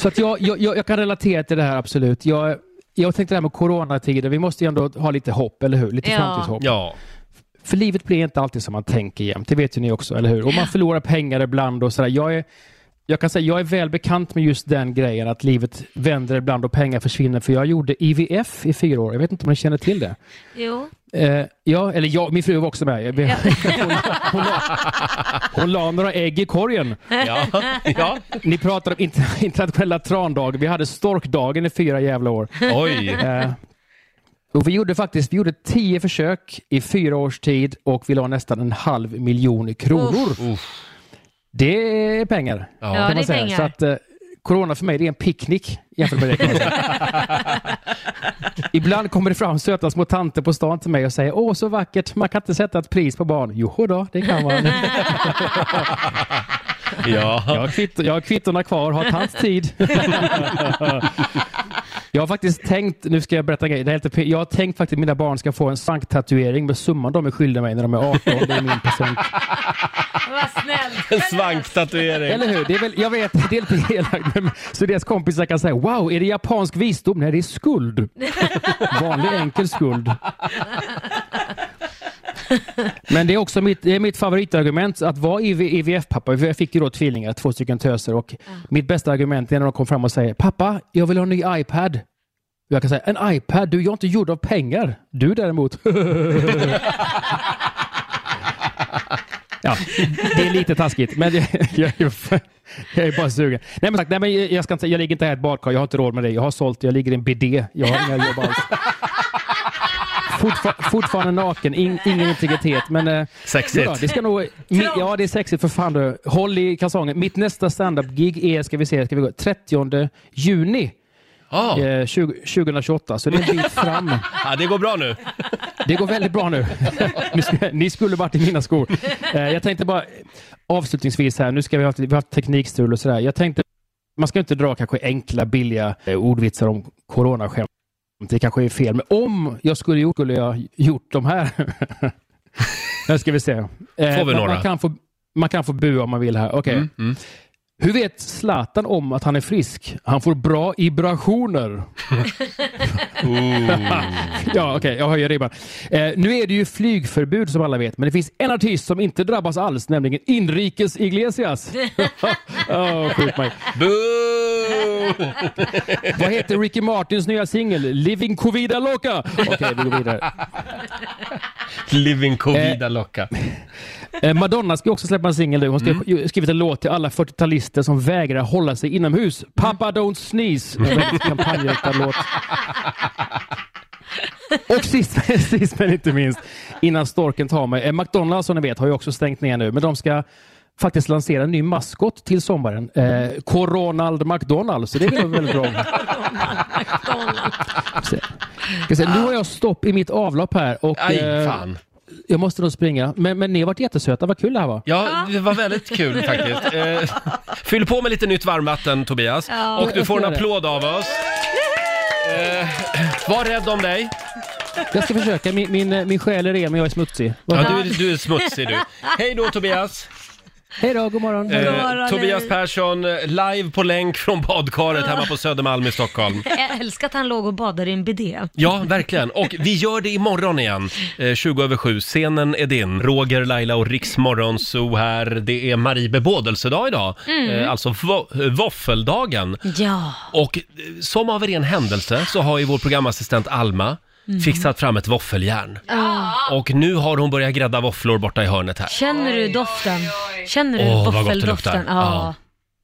Så att jag, jag, jag, jag kan relatera till det här absolut. Jag, jag tänkte det här med coronatider, vi måste ju ändå ha lite hopp, eller hur? Lite Ja. framtidshopp. ja. För livet blir inte alltid som man tänker jämt, det vet ju ni också, eller hur? Och man förlorar pengar ibland och sådär. Jag är jag kan säga jag är väl bekant med just den grejen att livet vänder ibland och pengar försvinner. För jag gjorde IVF i fyra år. Jag vet inte om ni känner till det? Jo. Eh, ja, eller jag, min fru var också med. Jag, hon, hon, la, hon la några ägg i korgen. Ja, ja. Ni pratar om inter, internationella trandagen. Vi hade storkdagen i fyra jävla år. Oj. Eh, och vi gjorde faktiskt vi gjorde tio försök i fyra års tid och vi la nästan en halv miljon kronor. Det är pengar. Ja, det är pengar. Så att, eh, corona för mig det är en picknick jämfört med det. kan man säga. Ibland kommer det fram söta små tanter på stan till mig och säger åh så vackert, man kan inte sätta ett pris på barn. Joho då, det kan man. Ja. Jag har, kvitto, jag har kvittorna kvar, har tagit tid. Jag har faktiskt tänkt, nu ska jag berätta en grej, det här är lite, pe- jag har tänkt faktiskt att mina barn ska få en svanktatuering med summan de är skyldiga mig när de är 18. Det är min present. Vad snällt. En svanktatuering. Eller hur? Det är väl, jag vet, det är lite elakt. men- Så deras kompisar kan säga wow, är det japansk visdom? Nej, det är skuld. Vanlig enkel skuld. Men det är också mitt, det är mitt favoritargument att vara IV, IVF-pappa. Jag fick ju då tvillingar, två stycken töser. Och Mitt bästa argument är när de kom fram och säger pappa, jag vill ha en ny iPad. Och Jag kan säga en iPad, du jag är inte gjord av pengar. Du däremot. Ja, det är lite taskigt, men jag, jag, jag är bara sugen. Nej, men sagt, nej, men jag, ska inte, jag ligger inte här i ett badkar, jag har inte råd med det. Jag har sålt, jag ligger i en bidé. Jag har inga jobb alls. Fortfar, fortfarande naken, in, ingen integritet. Men, eh, Sexigt. Ja, det ska nog, mi, ja, det är sexigt för fan. du. Håll i kalsongen. Mitt nästa standup-gig är, ska vi se, ska vi gå, 30 juni Ja. eh, 20, 2028. Så det är en bit fram. ja, det går bra nu. Det går väldigt bra nu. Ni skulle- Ni skulle varit i mina skor. Eh, Jag tänkte bara avslutningsvis här, nu ska vi ha haft, vi har haft teknikstrul och sådär. Jag tänkte, man ska inte dra kanske enkla, billiga eh, ordvitsar om coronaskämt. Det kanske är fel, men om jag skulle gjort, skulle jag gjort de här. Nu ska vi se. Eh, vi man- några? Man kan, få, man kan få bua om man vill här. Okej. Hur vet Zlatan om att han är frisk? Han får bra vibrationer. Ja, okej, jag höjer ribban. Eh, nu är det ju flygförbud som alla vet, men det finns en artist som inte drabbas alls, nämligen Inrikes Iglesias. Åh, skjut mig. Boo! Vad heter Ricky Martins nya singel? Living Covida Loca. Okej, vi går vidare. Living Covida Locka. Eh, Madonna ska ju också släppa en singel nu. Hon ska ju skrivit en låt till alla 40-talister som vägrar hålla sig inomhus. Papa don't sneeze. Mm. En väldigt kampanjriktad låt. Och sist, sist men inte minst, innan storken tar mig. Eh, McDonalds som ni vet har ju också stängt ner nu, men de ska faktiskt lansera en ny maskot till sommaren. Eh, Coronald McDonald, så det är väl väldigt bra. Så- ska se, Nu har jag stopp i mitt avlopp här och Aj, eh, fan. jag måste nog springa. Men, men ni har varit jättesöta, vad kul det här var. Ja, det var väldigt kul faktiskt. Eh, Fyll på med lite nytt varmvatten, Tobias. Ja. Och du Jag får en ska göra det. applåd av oss. Eh, Var rädd om dig. Jag ska försöka, min, eh, min, min själ är ren men jag är smutsig. Ja, du, är- du är smutsig du. Hej då Tobias! Hej då, god morgon. God morgon, Eh, Tobias hej. Persson, eh, live på länk från badkaret hemma på Södermalm i Stockholm. Jag älskar att han låg och badade i en bidé. Ja, verkligen. Och vi gör det imorgon igen, eh, 20 över 7. Scenen är din. Roger, Laila och Riksmorgon Zoo här. Det är Marie bebådelsedag idag, eh, alltså vå- eh, våffeldagen. Ja. Och eh, som av en ren händelse så har ju vår programassistent Alma fixat fram ett våffeljärn. Och nu har hon börjat grädda våfflor borta i hörnet här. Känner du doften? Känner du Åh, vad gott det våffeldoften? luktar. Ja.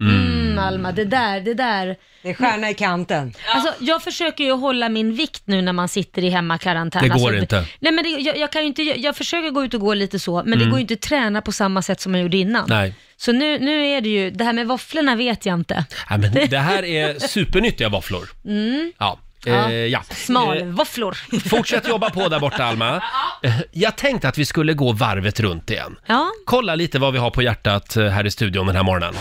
Mm, Alma, det där, det där. Det är stjärna i kanten. Alltså, jag försöker ju hålla min vikt nu när man sitter i hemmakarantän. Det går alltså, inte. Nej, men det, jag, jag, kan ju inte, jag, jag försöker gå ut och gå lite så, men det går ju inte att träna på samma sätt som jag gjorde innan. Mm. Nej. Så nu, nu är det ju, det här med våfflorna vet jag inte. Ja, men det här är supernyttiga våfflor. Mm. Ja. Eh, ja. Eh, Smalvåfflor. fortsätt jobba på där borta, Alma. Eh, Jag tänkte att vi skulle gå varvet runt igen. Ja. Kolla lite vad vi har på hjärtat eh, här i studion den här morgonen.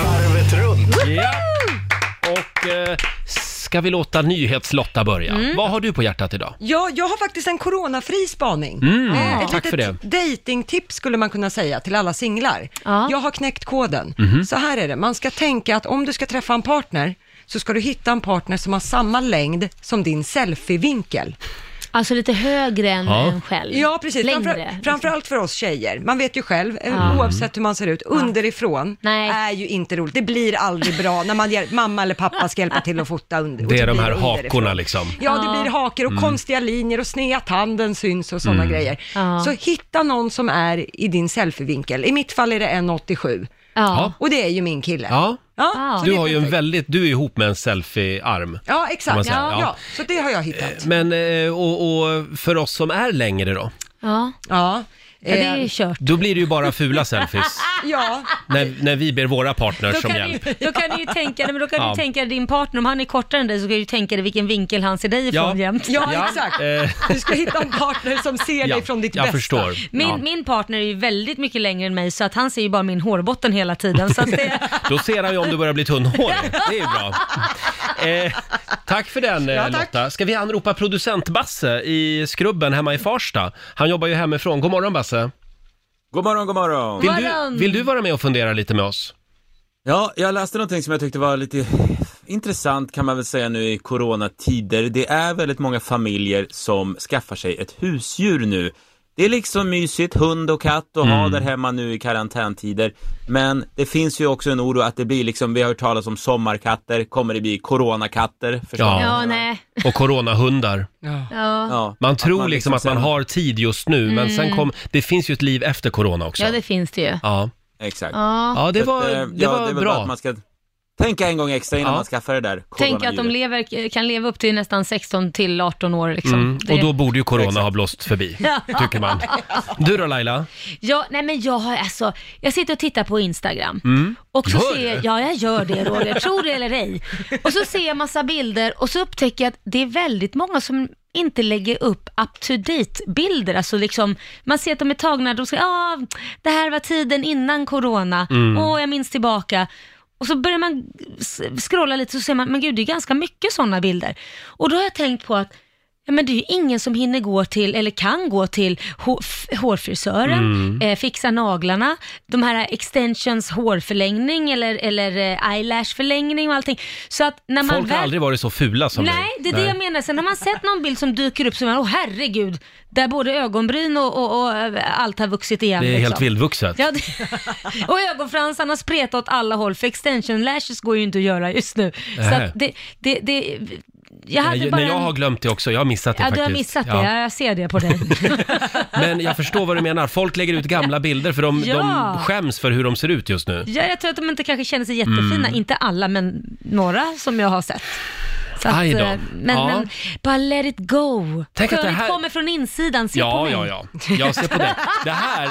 Varvet runt. Ja. Och eh, ska vi låta nyhetslotta börja? Vad har du på hjärtat idag? Ja, Mm. jag har faktiskt en coronafri spaning. Eh, Ett Mm, tack för det. datingtips skulle man kunna säga till alla singlar. Ja. Jag har knäckt koden. Mhm. Så här är det, man ska tänka att om du ska träffa en partner så ska du hitta en partner som har samma längd som din selfievinkel. Alltså lite högre än Ja. en själv. Ja, precis. Längre. Framför, framförallt för oss tjejer. Man vet ju själv, eh, liksom. Ja. oavsett hur man ser ut, underifrån är ju inte roligt. Det blir aldrig bra när man hjäl- mamma eller pappa ska hjälpa till att fota under. och Det är de blir här underifrån. hakorna liksom. Ja, det blir haker och Mm. konstiga linjer och sneda tanden syns och sådana Mm. grejer. Ja. Så hitta någon som är i din selfievinkel. I mitt fall är det 1,87. Ja. Och det är ju min kille. Ja. Ja, så Du det- har ju en väldigt, du är ihop med en selfie-arm. ja kan man exakt. säga. Ja. Ja, så det har jag hittat. Men, eh, och, och för oss som är längre då? Ja. Ja. Eh, Ja, det är ju kört. Då blir det ju bara fula selfies. Ja. När, när vi ber våra partners Då om kan, hjälp. du, då kan du ju tänka, nej, men då kan Ja. du tänka din partner, om han är kortare än dig så kan du ju tänka dig vilken vinkel han ser dig ifrån Ja. jämt. Ja, Ja, exakt. eh. Du ska hitta en partner som ser Ja, dig från ditt jag bästa. förstår. Min, Ja. min partner är ju väldigt mycket längre än mig så att han ser ju bara min hårbotten hela tiden. Så att det, Då ser han ju om du börjar bli tunnhårig. Det är ju bra. Eh, tack för den eh, Ja, tack. Lotta. Ska vi anropa producent Basse i Skrubben hemma i Farsta? Han jobbar ju hemifrån. God morgon Basse. God morgon, god morgon. Vill du, vill du vara med och fundera lite med oss? Ja, jag läste någonting som jag tyckte var lite intressant kan man väl säga nu i coronatider. Det är väldigt många familjer som skaffar sig ett husdjur nu. Det är liksom mysigt, hund och katt och ha Mm. där hemma nu i karantäntider. Men det finns ju också en oro att det blir liksom, vi har hört talas om sommarkatter, kommer det bli coronakatter? Förstår Ja. ni? ja, nej. Och coronahundar. Ja. Man tror liksom att man har tid just nu, men Mm. sen kom, det finns ju ett liv efter corona också. ja, det finns det ju. Ja. Exakt. Ja. Ja, det Så var- eh, det var det är väl bra. bara att man ska tänka en gång extra innan Ja. man skaffar det där Tänk att de coronadjuret. lever, kan leva upp till nästan 16 till 18 år. Liksom. Mm. Det- Och då borde ju corona ha blåst förbi, Ja. tycker man. Du då Laila? Ja, nej men jag har alltså, jag sitter och tittar på Instagram. Mm. Och så Gör ser det? jag, ja jag gör det Roger, tror det eller ej. Och så ser jag massa bilder och så upptäcker jag att det är väldigt många som inte lägger upp up to date bilder. Alltså liksom, man ser att de är tagna, de säger ah, det här var tiden innan corona, åh Mm. jag minns tillbaka. Och så börjar man s- scrolla lite så ser man, men gud det är ganska mycket sådana bilder. Och då har jag tänkt på att Ja, men det är ju ingen som hinner gå till, eller kan gå till, hå- f- hårfrisören, Mm. eh, fixa naglarna, de här extensions hårförlängning eller, eller eh, eyelashförlängning och allting. Så att när man Folk har väl... aldrig varit så fula som Nej, ni. det är det jag menar. Sen har man sett någon bild som dyker upp som man, åh herregud, där både ögonbryn och, och, och eh, allt har vuxit igen. Det är helt liksom. vildvuxet. Ja, det... och ögonfransarna spretar åt alla håll, för extension lashes går ju inte att göra just nu. Så Nej. att det, det, det... Jag hade Nej, bara nej, jag en- har glömt det också. Jag har missat det Ja, du faktiskt. har missat Ja. det. Ja, jag ser det på dig. Men jag förstår vad du menar. Folk lägger ut gamla bilder för de, Ja. de skäms för hur de ser ut just nu. Ja, jag tror att de inte kanske känner sig jättefina, Mm. inte alla, men några som jag har sett. Så att, Aj då. eh, Men, Ja. men bara let it go. Tänk att det Skönhet här- kommer från insidan, se på Ja, mig. ja, ja. Jag ser på det. Det här,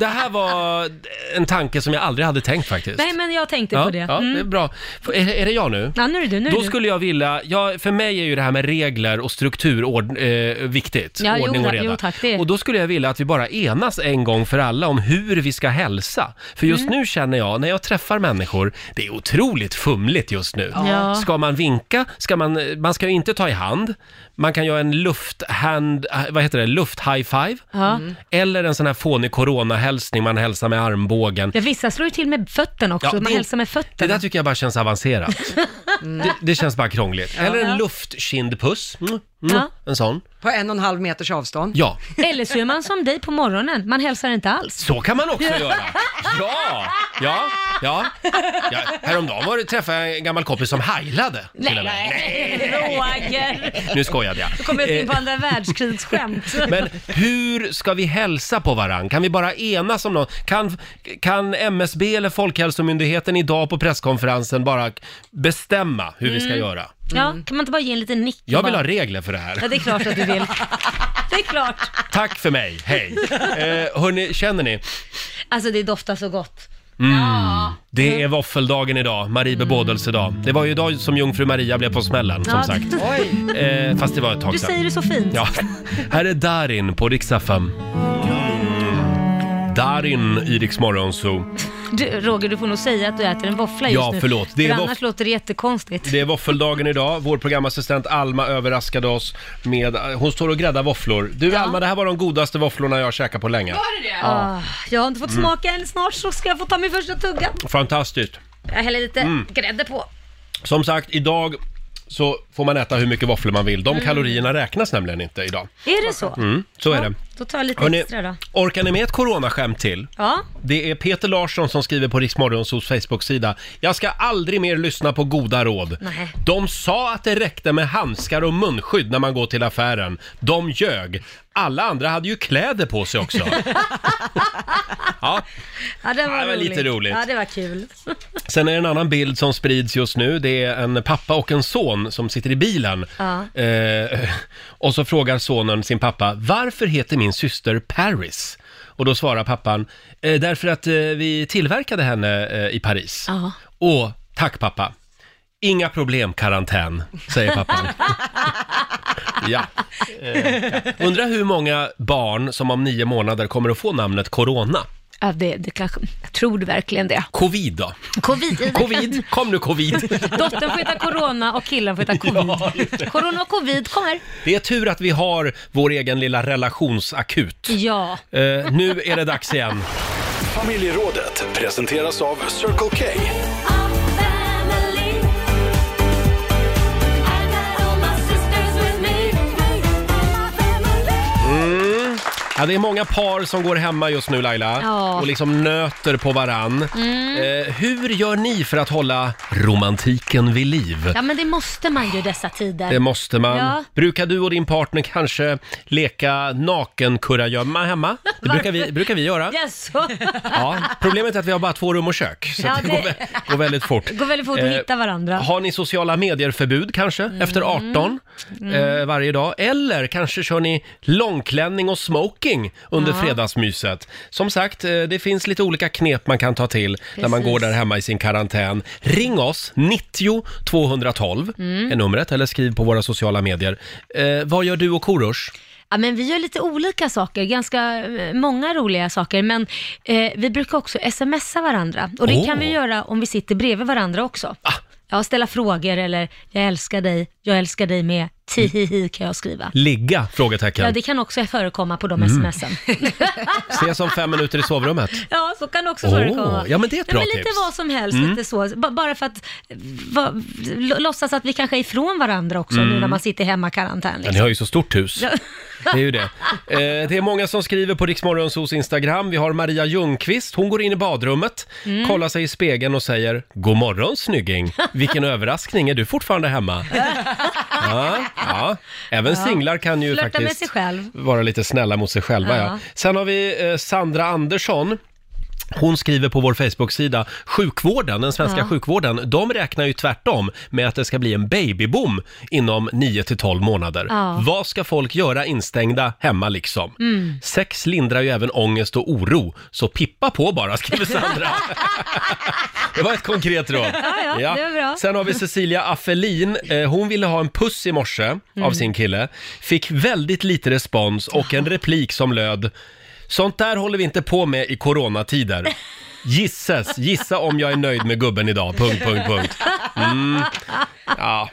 det här var en tanke som jag aldrig hade tänkt faktiskt. Nej, men jag tänkte ja, på det. Mm. Ja, det är bra. F- Är, är det jag nu? Ja, nu är det du. Nu är det Då du. skulle jag vilja, ja, för mig är ju det här med regler och struktur ord, eh, viktigt. Ja, jo, ordning och ta- reda. jo, tack, det är- Och då skulle jag vilja att vi bara enas en gång för alla om hur vi ska hälsa. För just Mm. nu känner jag, när jag träffar människor, det är otroligt fumligt just nu. Ja. Ska man vinka? Ska man, man ska ju inte ta i hand. Man kan göra en lufthand, vad heter det, luft-high-five. Ja. Eller en sån här fånig coronahälsning, man hälsar med armbågen. Ja, vissa slår ju till med fötterna också, Ja, man det- hälsar med fötterna. Det där tycker jag bara känns avancerat. Mm. Det, det känns bara krångligt. Eller en Ja. luftkindpuss. Mm, mm, Ja. En sån. På en och en halv meters avstånd. Ja, Eller så är man som dig på morgonen, man hälsar inte alls. så kan man också göra. Ja, ja, ja. ja. Häromdagen var det, träffade jag en gammal kompis som heilade. till och med. Roger. Nu skojade jag. Då kommer vi in på Eh, andra världskrigsskämt. Men hur ska vi hälsa på varann? Kan vi bara enas om någon? Kan, kan MSB eller Folkhälsomyndigheten idag på presskonferensen bara bestämma hur vi ska Mm. göra? Ja, kan man inte bara ge en liten nick? och Jag vill bara- ha regler för det här. Ja, det är klart att du vill. Det är klart. Tack för mig, hej! Eh, hörni, känner ni? Alltså det doftar så gott. Mm. Det Mm. är våffeldagen idag, Marie bebådelsedag. Det var ju idag som jungfru Maria blev på smällen, som Ja. sagt. Oj. Eh, fast det var ett tag Du sedan. säger det så fint. Ja. Här är Darin på riksdag 5. Darin i Rix Morgon Zoo. Du, Roger, du får nog säga att du äter en våffla just Ja, nu. förlåt. Det är För våff- Mm. annars låter det jättekonstigt. Det är våffeldagen idag. Vår programassistent Alma överraskade oss med... eh, Hon står och gräddar våfflor. Du Alma, det här var de godaste våfflorna jag har käkat på länge. Var det det? Ja. Ah, jag har inte fått Mm. smaka än. Snart så ska jag få ta min första tugga. Fantastiskt. Jag häller lite Mm. grädde på. Som sagt, idag så får man äta hur mycket våfflor man vill. De Mm. kalorierna räknas nämligen inte idag. Är det så? Mm, så är det. Då tar jag lite Hörrni, extra då. Orkar ni med ett coronaskämt till? Ja. Det är Peter Larsson som skriver på Riksmorgonsos Facebook-sida. Jag ska aldrig mer lyssna på goda råd. Nej. De sa att det räckte med handskar och munskydd när man går till affären. De ljög. Alla andra hade ju kläder på sig också. Ja. Ja, det var, Ja, det var roligt. lite roligt. Ja, det var kul. Sen är det en annan bild som sprids just nu. Det är en pappa och en son som sitter i bilen. Ja. Eh, och så frågar sonen sin pappa, varför heter min syster Paris? Och då svarar pappan, eh, därför att eh, vi tillverkade henne eh, i Paris. Ja. Och tack pappa. Inga problem karantän, säger pappan. ja. Eh, undrar hur många barn som om nio månader kommer att få namnet corona. Ja, det, det kanske, jag tror du verkligen det. Covid då? Covid. Covid, kom nu covid. Dottern får heta corona och killen får heta covid. corona och covid kommer. Det är tur att vi har vår egen lilla relationsakut. Ja. Eh, nu är det dags igen. Familjerådet presenteras av Circle K. Mm. Ja, det är många par som går hemma just nu Laila Ja. och liksom nöter på varann. Mm. Eh, hur gör ni för att hålla romantiken vid liv? Ja, men det måste man ju i dessa tider. Det måste man. Ja. Brukar du och din partner kanske leka nakenkurragömma hemma? Det brukar vi, brukar vi göra. Jaså? Ja, problemet är att vi har bara två rum och kök, så Ja, det, det- Går, vä- går väldigt fort. Det går väldigt fort att Eh, hitta varandra. Har ni sociala medier-förbud kanske efter 18 Mm. eh, varje dag? Eller kanske kör ni långklänning och smoking under Ja. fredagsmyset? Som sagt, eh, det finns lite olika knep man kan ta till när man Precis. går där hemma i sin karantän. Ring oss, 90 212 Mm. är numret, eller skriv på våra sociala medier. Eh, vad gör du och Korosh? Ja, men vi gör lite olika saker, ganska eh, många roliga saker, men eh, vi brukar också smsa varandra. Och det Åh. Ah. kan vi göra om vi sitter bredvid varandra också. Ja, ställa frågor eller jag älskar dig, jag älskar dig med, tihihi kan jag skriva. Ligga? Ja, Frågetecken. det kan också förekomma på de Mm. smsen. Ses om fem minuter i sovrummet. Ja, så kan det också Åh, förekomma. ja, men det är ett bra men Lite tips. vad som helst, Mm. lite så. B- bara för att va, l- låtsas att vi kanske är ifrån varandra också nu Mm. när man sitter hemma i karantän. liksom. Ja, ni har ju så stort hus. Ja. Det är ju det. Eh, det är många som skriver på Riksmorgonsos Instagram. Vi har Maria Ljungqvist. Hon går in i badrummet, Mm. kollar sig i spegeln och säger God morgon snygging! Vilken överraskning! Är du fortfarande hemma? Ja, ja. Även Ja. singlar kan ju Flörta med faktiskt sig själv. vara lite snälla mot sig själva. Ja. Ja. Sen har vi eh, Sandra Andersson. Hon skriver på vår Facebook-sida, sjukvården, den svenska Ja. sjukvården, de räknar ju tvärtom med att det ska bli en babyboom inom 9 till 12 månader. Ja. Vad ska folk göra instängda hemma liksom? Mm. Sex lindrar ju även ångest och oro, så pippa på bara, skriver Sandra. det var ett konkret råd. Ja, ja, det var bra. Sen har vi Cecilia Affelin. Eh, Hon ville ha en puss i morse av Mm. sin kille. Fick väldigt lite respons och en replik som löd Sånt där håller vi inte på med i coronatider. Gisses, gissa om jag är nöjd med gubben idag, punkt, punkt, punkt. Mm. Ja.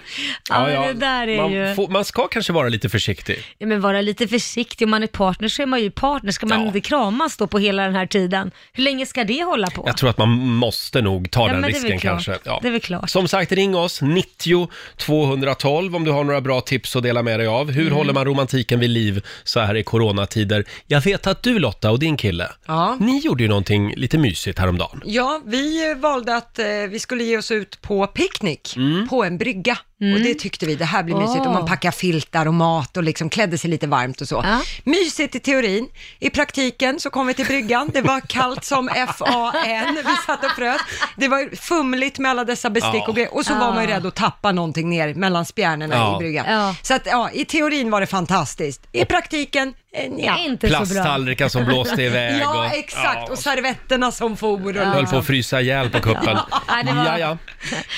Ja, men det där är man, ju- får, man ska kanske vara lite försiktig. Ja, men vara lite försiktig, om man är partner så är man ju partner. Ska man inte kramas då på hela den här tiden? Hur länge ska det hålla på? Jag tror att man måste nog ta Ja, den men det är väl risken klart. kanske. Ja. Det är väl klart. Som sagt, ring oss 90 212 om du har några bra tips att dela med dig av. Hur Mm. håller man romantiken vid liv så här i coronatider? Jag vet att du Lotta och din kille, Ja. ni gjorde ju någonting lite mysigt häromdagen. Ja, vi eh, valde att eh, vi skulle ge oss ut på picknick på en brygga. Och det tyckte vi, det här blir mysigt. Åh. Och man packar filtar och mat och liksom klädde sig lite varmt och så. Mysigt i teorin. I praktiken så kom vi till bryggan. Det var kallt som FAN. Vi satt och frös. Det var fumligt med alla dessa bestick Ja. och grejer. Och så var man ju Ja. rädd att tappa någonting ner mellan spjärnorna Ja. i bryggan. Ja. Så att ja, i teorin var det fantastiskt. I praktiken, eh, ja. Inte Plasttallrikar som blåste iväg Ja, och- exakt. ja. Och servetterna som for. Och Höll liksom. på att frysa ihjäl på kuppen. Nej, det var- ja, ja.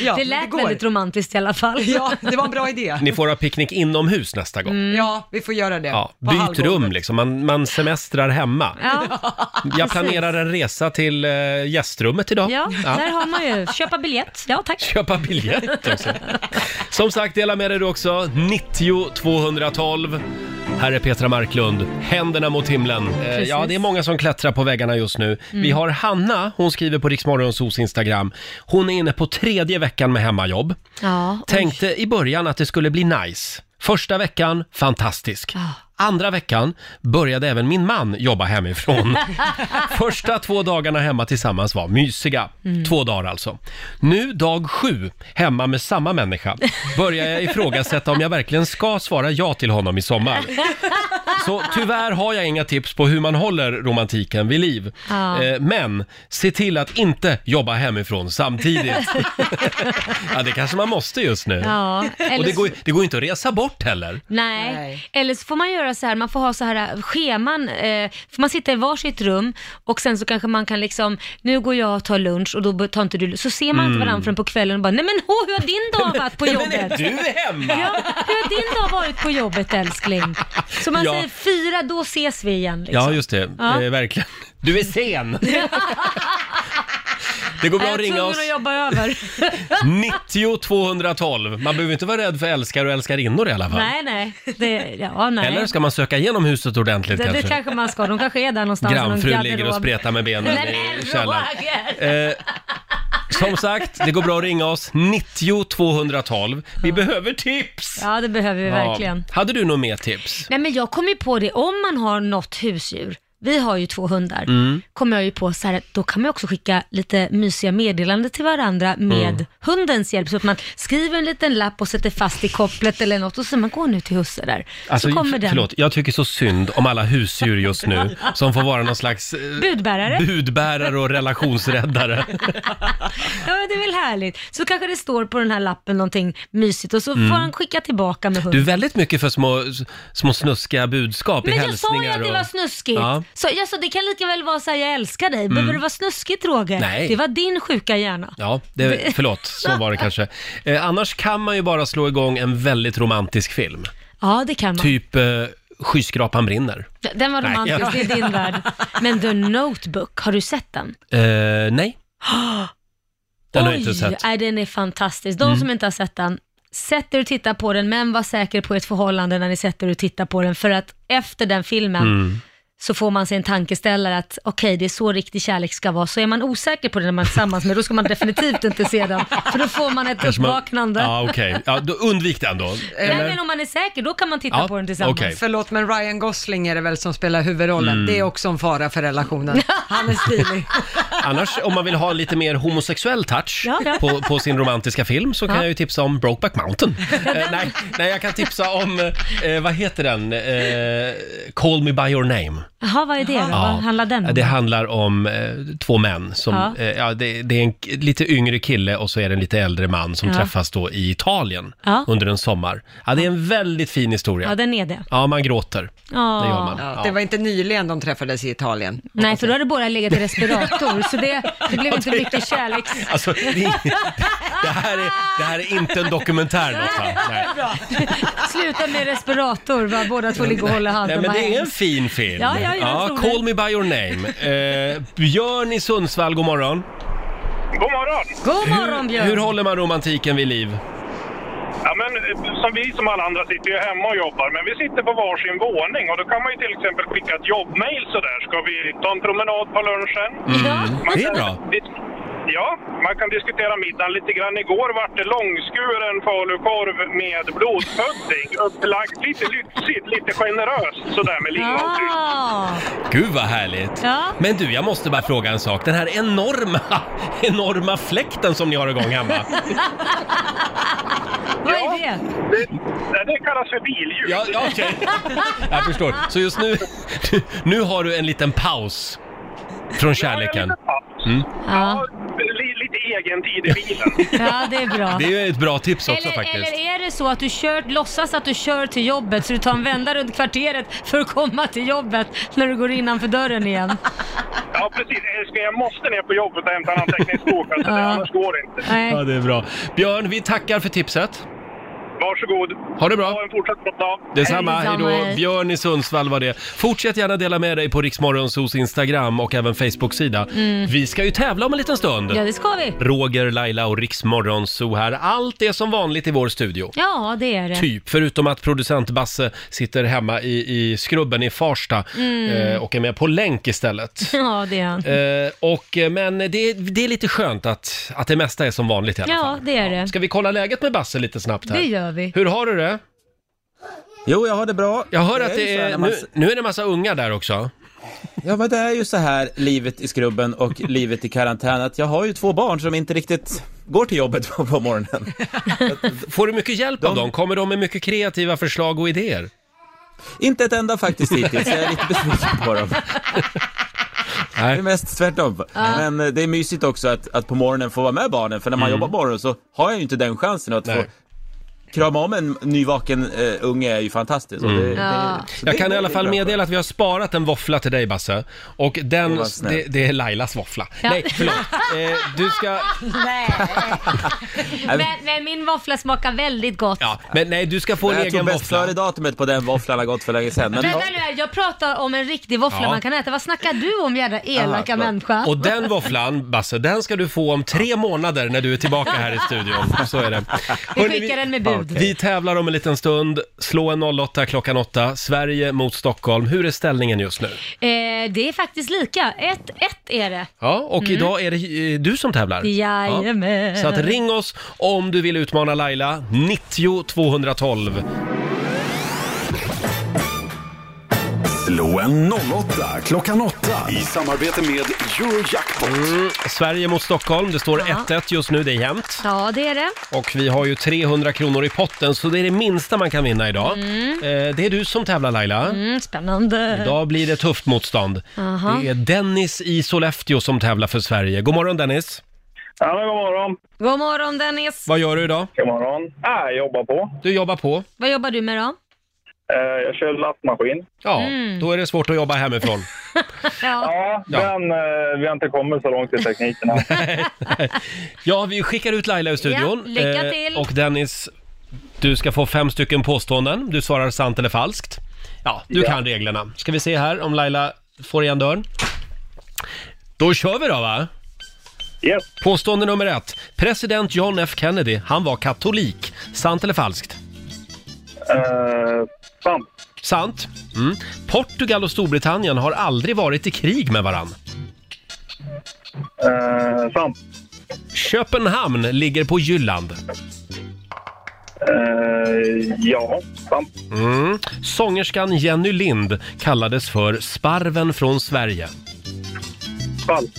Ja, det men lät det går. väldigt romantiskt i alla fall. Ja, det var en bra idé. Ni får ha picknick inomhus nästa gång. Mm. Ja, vi får göra det. Ja, På byt halvgolvet. rum liksom, man, man semestrar hemma. Ja, Jag precis. planerar en resa till eh, gästrummet idag. Ja, Ja. där har man ju. Köpa biljett. Ja, tack. köpa biljett också. Som sagt, dela med dig du också. 90 212. Här är Petra Marklund, händerna mot himlen. Eh, Precis. ja, det är många som klättrar på väggarna just nu. Vi har Hanna, hon skriver på Riksmorgonsos Instagram. Hon är inne på tredje veckan med hemmajobb. Ja, oj. Tänkte i början att det skulle bli nice. Första veckan, fantastisk. Andra veckan började även min man jobba hemifrån. Första två dagarna hemma tillsammans var mysiga. Mm. Två dagar alltså. Nu dag sju, hemma med samma människa, börjar jag ifrågasätta om jag verkligen ska svara ja till honom i sommar. Så tyvärr har jag inga tips på hur man håller romantiken vid liv. Ja. Eh, Men se till att inte jobba hemifrån samtidigt. ja, det kanske man måste just nu. Ja, eller Och det så- går, det går inte att resa bort heller. Nej. eller så får man göra så här, man får ha så här äh, scheman, eh, för man sitter i varsitt rum och sen så kanske man kan liksom, nu går jag och tar lunch och då bör- tar inte du lunch. Så ser man inte Mm. varandra förrän på kvällen och bara, nej men hå, hur har din dag varit på Men- jobbet? men är du hemma? Ja, hur har din dag varit på jobbet älskling? Så man Ja. säger fyra, då ses vi igen. Liksom. Ja, just det. Ja. Eh, verkligen. Du är sen! Det går bra att Jag är ringa tvungen oss. att jobba över. 90 212. Man behöver inte vara rädd för älskare och älskarinnor i alla fall. nej, nej. Det, ja, nej. Eller ska man söka igenom huset ordentligt det, kanske? det kanske man ska, de kanske är där någonstans. i någon Grannfrun ligger och garderob. spretar med benen Nej, i men källaren. Roger! Eh, som sagt, det går bra att ringa oss. 90 212. Vi behöver tips! Ja, det behöver vi verkligen. Ja. Hade du något mer tips? Nej men jag kom ju på det, om man har något husdjur, vi har ju två hundar, Mm. kom jag ju på så här, då kan man ju också skicka lite mysiga meddelanden till varandra med Mm. hundens hjälp. Så att man skriver en liten lapp och sätter fast i kopplet eller något och så man går nu till husse där. Alltså, så kommer den. förlåt, jag tycker så synd om alla husdjur just nu som får vara någon slags eh, Budbärare. budbärare och relationsräddare. Ja men det är väl härligt. Så kanske det står på den här lappen någonting mysigt och så Mm. får han skicka tillbaka med Du är hunden. väldigt mycket för små, små snuskiga budskap i Men jag sa hälsningar. ju att det och- var snuskigt. Ja. Så jag sa, det kan lika väl vara så här, jag älskar dig. Behöver Mm. det vara snuskigt Roger? Nej. Det var din sjuka hjärna. Ja, det, förlåt, så var det kanske. Eh, annars kan man ju bara slå igång en väldigt romantisk film. Ja, det kan man. Typ eh, Skyskrapan brinner. D- Den var Nej. romantisk, det är din värld. Men The Notebook, har du sett den? Eh, nej, den har jag inte sett. nej, den är fantastisk. De Mm. som inte har sett den, sätt er och titta på den, men var säker på ert förhållande när ni sätter er och tittar på den, för att efter den filmen Mm. så får man sig en tankeställare att okej, det är så riktig kärlek ska vara. Så är man osäker på det när man är tillsammans med, då ska man definitivt inte se den, för då får man ett Kanske man- uppvaknande. Ja, okej. Ja, då undvik den då. Nej, Eller? men om man är säker, då kan man titta Ja, på den tillsammans. okej. Förlåt, men Ryan Gosling är det väl som spelar huvudrollen. Mm. Det är också en fara för relationen. Han är stilig. Annars, om man vill ha lite mer homosexuell touch Ja, ja. På, på sin romantiska film så kan Ja. jag ju tipsa om Brokeback Mountain. Eh, nej, nej, jag kan tipsa om, eh, vad heter den? Eh, Call Me By Your Name. Jaha, vad är det då? Ja. Vad handlar den om? Det handlar om eh, två män som, Ja. eh, ja, det, det är en k- lite yngre kille och så är det en lite äldre man som Ja. träffas då i Italien Ja. under en sommar. Ja, det är en väldigt fin Ja, historia. den är det. Ja, man gråter. Det gör man. Ja, Ja. det var inte nyligen de träffades i Italien. Nej, för då hade båda legat i respirator, så det, det blev inte mycket kärlek. Alltså, det, det, här är, det här är inte en dokumentär Lotta. Nej. Bra. Sluta med respirator, va? båda två ligger och håller handen. Nej, men Vad det är en hemskt. fin film. Ja, ja, jag tror Call me by your name. Eh, Björn i Sundsvall, god morgon. God morgon! God Hur, hur håller man romantiken vid liv? Ja, men, eh, som vi som alla andra sitter ju hemma och jobbar, men vi sitter på varsin våning och då kan man ju till exempel skicka ett jobbmail sådär. Ska vi ta en promenad på lunchen? Mm. Det är bra. dis- Ja, man kan diskutera middagen lite grann. Igår vart det långskuren falukorv med blodpudding. Upplagt lite lyxigt, lite generöst sådär med lingonsylt. Ah. Gud vad härligt! Ja. Men du, jag måste bara fråga en sak. Den här enorma, enorma fläkten som ni har igång hemma. Vad är det? Det, det kallas för billjud. Ja, ja, okej. Jag förstår. Så just nu, nu har du en liten paus från kärleken. Mm. Ja. Li- Lite egen tid i bilen. ja, det är bra. Det är ju ett bra tips också eller, faktiskt. eller är det så att du kört, låtsas att du kör till jobbet så du tar en vända runt kvarteret för att komma till jobbet när du går innanför dörren igen? Ja, precis. Älskling, jag måste ner på jobbet och hämta en anteckningsbok. Alltså, Ja. Annars går det inte. Nej. Ja, det är bra. Björn, vi tackar för tipset. Varsågod. Ha det bra. Ha en fortsatt bra dag. Detsamma, hej då. Björn i Sundsvall var det. Fortsätt gärna dela med dig på Riksmorgonsos Instagram och även Facebook-sida. Mm. Vi ska ju tävla om en liten stund. Ja, det ska vi. Roger, Laila och Riksmorgonso här. Allt är som vanligt i vår studio. Ja, det är det. Typ, förutom att producent Basse sitter hemma i, i skrubben i Farsta Mm. eh, och är med på länk istället. Ja, det är han. Eh, och, eh, men det, det är lite skönt att, att det mesta är som vanligt i alla fall. Ja, det är det. Ska vi kolla läget med Basse lite snabbt här? Det gör vi. Hur har du det? Jo, jag har det bra. Jag hör Det att är ju det så här är, när man nu, s- nu är det en massa unga där också. Ja, men det är ju så här livet i skrubben och livet i karantän att jag har ju två barn som inte riktigt går till jobbet på, på morgonen. Får du mycket hjälp av dem? Kommer de med mycket kreativa förslag och idéer? Inte ett enda faktiskt hittills, jag är lite besviken på dem. Nej. Det är mest tvärtom. Ja. Men eh, det är mysigt också att, att på morgonen få vara med barnen, för när man Mm. jobbar på morgonen så har jag ju inte den chansen att få Nej. krama om en nyvaken eh, unge är ju fantastiskt. och Mm. Det, Ja. det, så Jag det- kan det i alla är fall bra. meddela att vi har sparat en våffla till dig Basse. Och den, Åh, vad snällt. det, det är Lailas våffla. Ja. Nej, förlåt. Eh, du ska... Nej. men, men min våffla smakar väldigt gott. Ja, men nej, du ska få en Jag egen tror bäst våffla. före-datumet på den våfflan har gått för länge sedan. Men Vänta nu här, jag pratar om en riktig våffla Ja. man kan äta. Vad snackar du om jädra elaka Aha, människa? Och den våfflan, Basse, den ska du få om tre månader när du är tillbaka här i studion. Så är det. Vi Hörrni, skickar den med bud. Vi tävlar om en liten stund. Slå en 08 klockan 8. Sverige mot Stockholm. Hur är ställningen just nu? Eh, det är faktiskt lika. 1-1 är det. Ja, och Mm. idag är det eh, du som tävlar. Jajamän. Så att ring oss om du vill utmana Laila. Mm, 90 212. Slå en 08 klockan 8 i samarbete med Eurojackpot. Mm, Sverige mot Stockholm. Det står 1-1 just nu. Det är jämnt. Ja, det är det. Och vi har ju 300 kronor i potten, så det är det minsta man kan vinna idag. Mm. Eh, Det är du som tävlar Laila. Mm, spännande. Idag blir det tufft motstånd. Aha. Det är Dennis i Sollefteå som tävlar för Sverige. God morgon Dennis! Ja, men god morgon. God morgon Dennis. Vad gör du idag? God morgon. Ah, jag jobbar på. Du jobbar på. Vad jobbar du med då? Eh, jag kör lastmaskin. Ja, Mm. då är det svårt att jobba hemifrån. Ja, men eh, vi har inte kommit så långt i tekniken än. Ja, vi skickar ut Laila ur studion. Ja, lycka Eh, till. och Dennis, du ska få fem stycken påståenden. Du svarar sant eller falskt. Ja, du Ja. kan reglerna. Ska vi se här om Laila får igen dörren. Då kör vi då va? Yes. Påstående nummer ett. President John F Kennedy, han var katolik. Sant eller falskt? Eh, sant. Sant. Mm. Portugal och Storbritannien har aldrig varit i krig med varann. Eh, sant. Köpenhamn ligger på Jylland. Eh, ja, sant. Mm. Sångerskan Jenny Lind kallades för Sparven från Sverige. Falskt.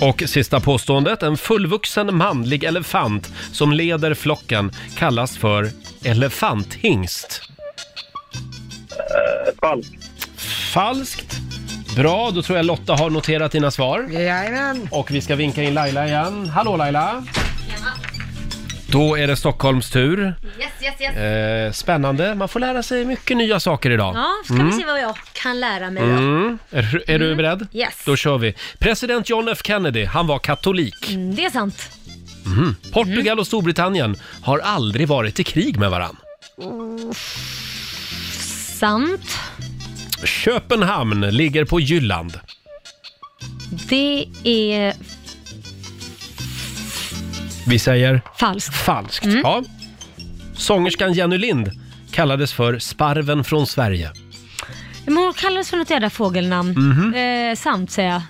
Och sista påståendet. En fullvuxen manlig elefant som leder flocken kallas för elefanthingst. Eh, falskt. Falskt. Bra, då tror jag Lotta har noterat dina svar. Jajamän. Och vi ska vinka in Laila igen. Hallå Laila! Då är det Stockholms tur. Yes, yes, yes. Eh, spännande, man får lära sig mycket nya saker idag. Ja, ska vi se vad jag kan lära mig då. Mm. Är, är du beredd? Yes. Då kör vi. President John F Kennedy, han var katolik. Mm, det är sant. Mhm. Portugal och Storbritannien har aldrig varit i krig med varann. Sant. Köpenhamn ligger på Jylland. Det är Vi säger... falskt. Falskt, Mm. ja. Sångerskan Jenny Lind kallades för Sparven från Sverige. Men hon kallades för något jädra fågelnamn. Mhm. Eh, sant säger jag.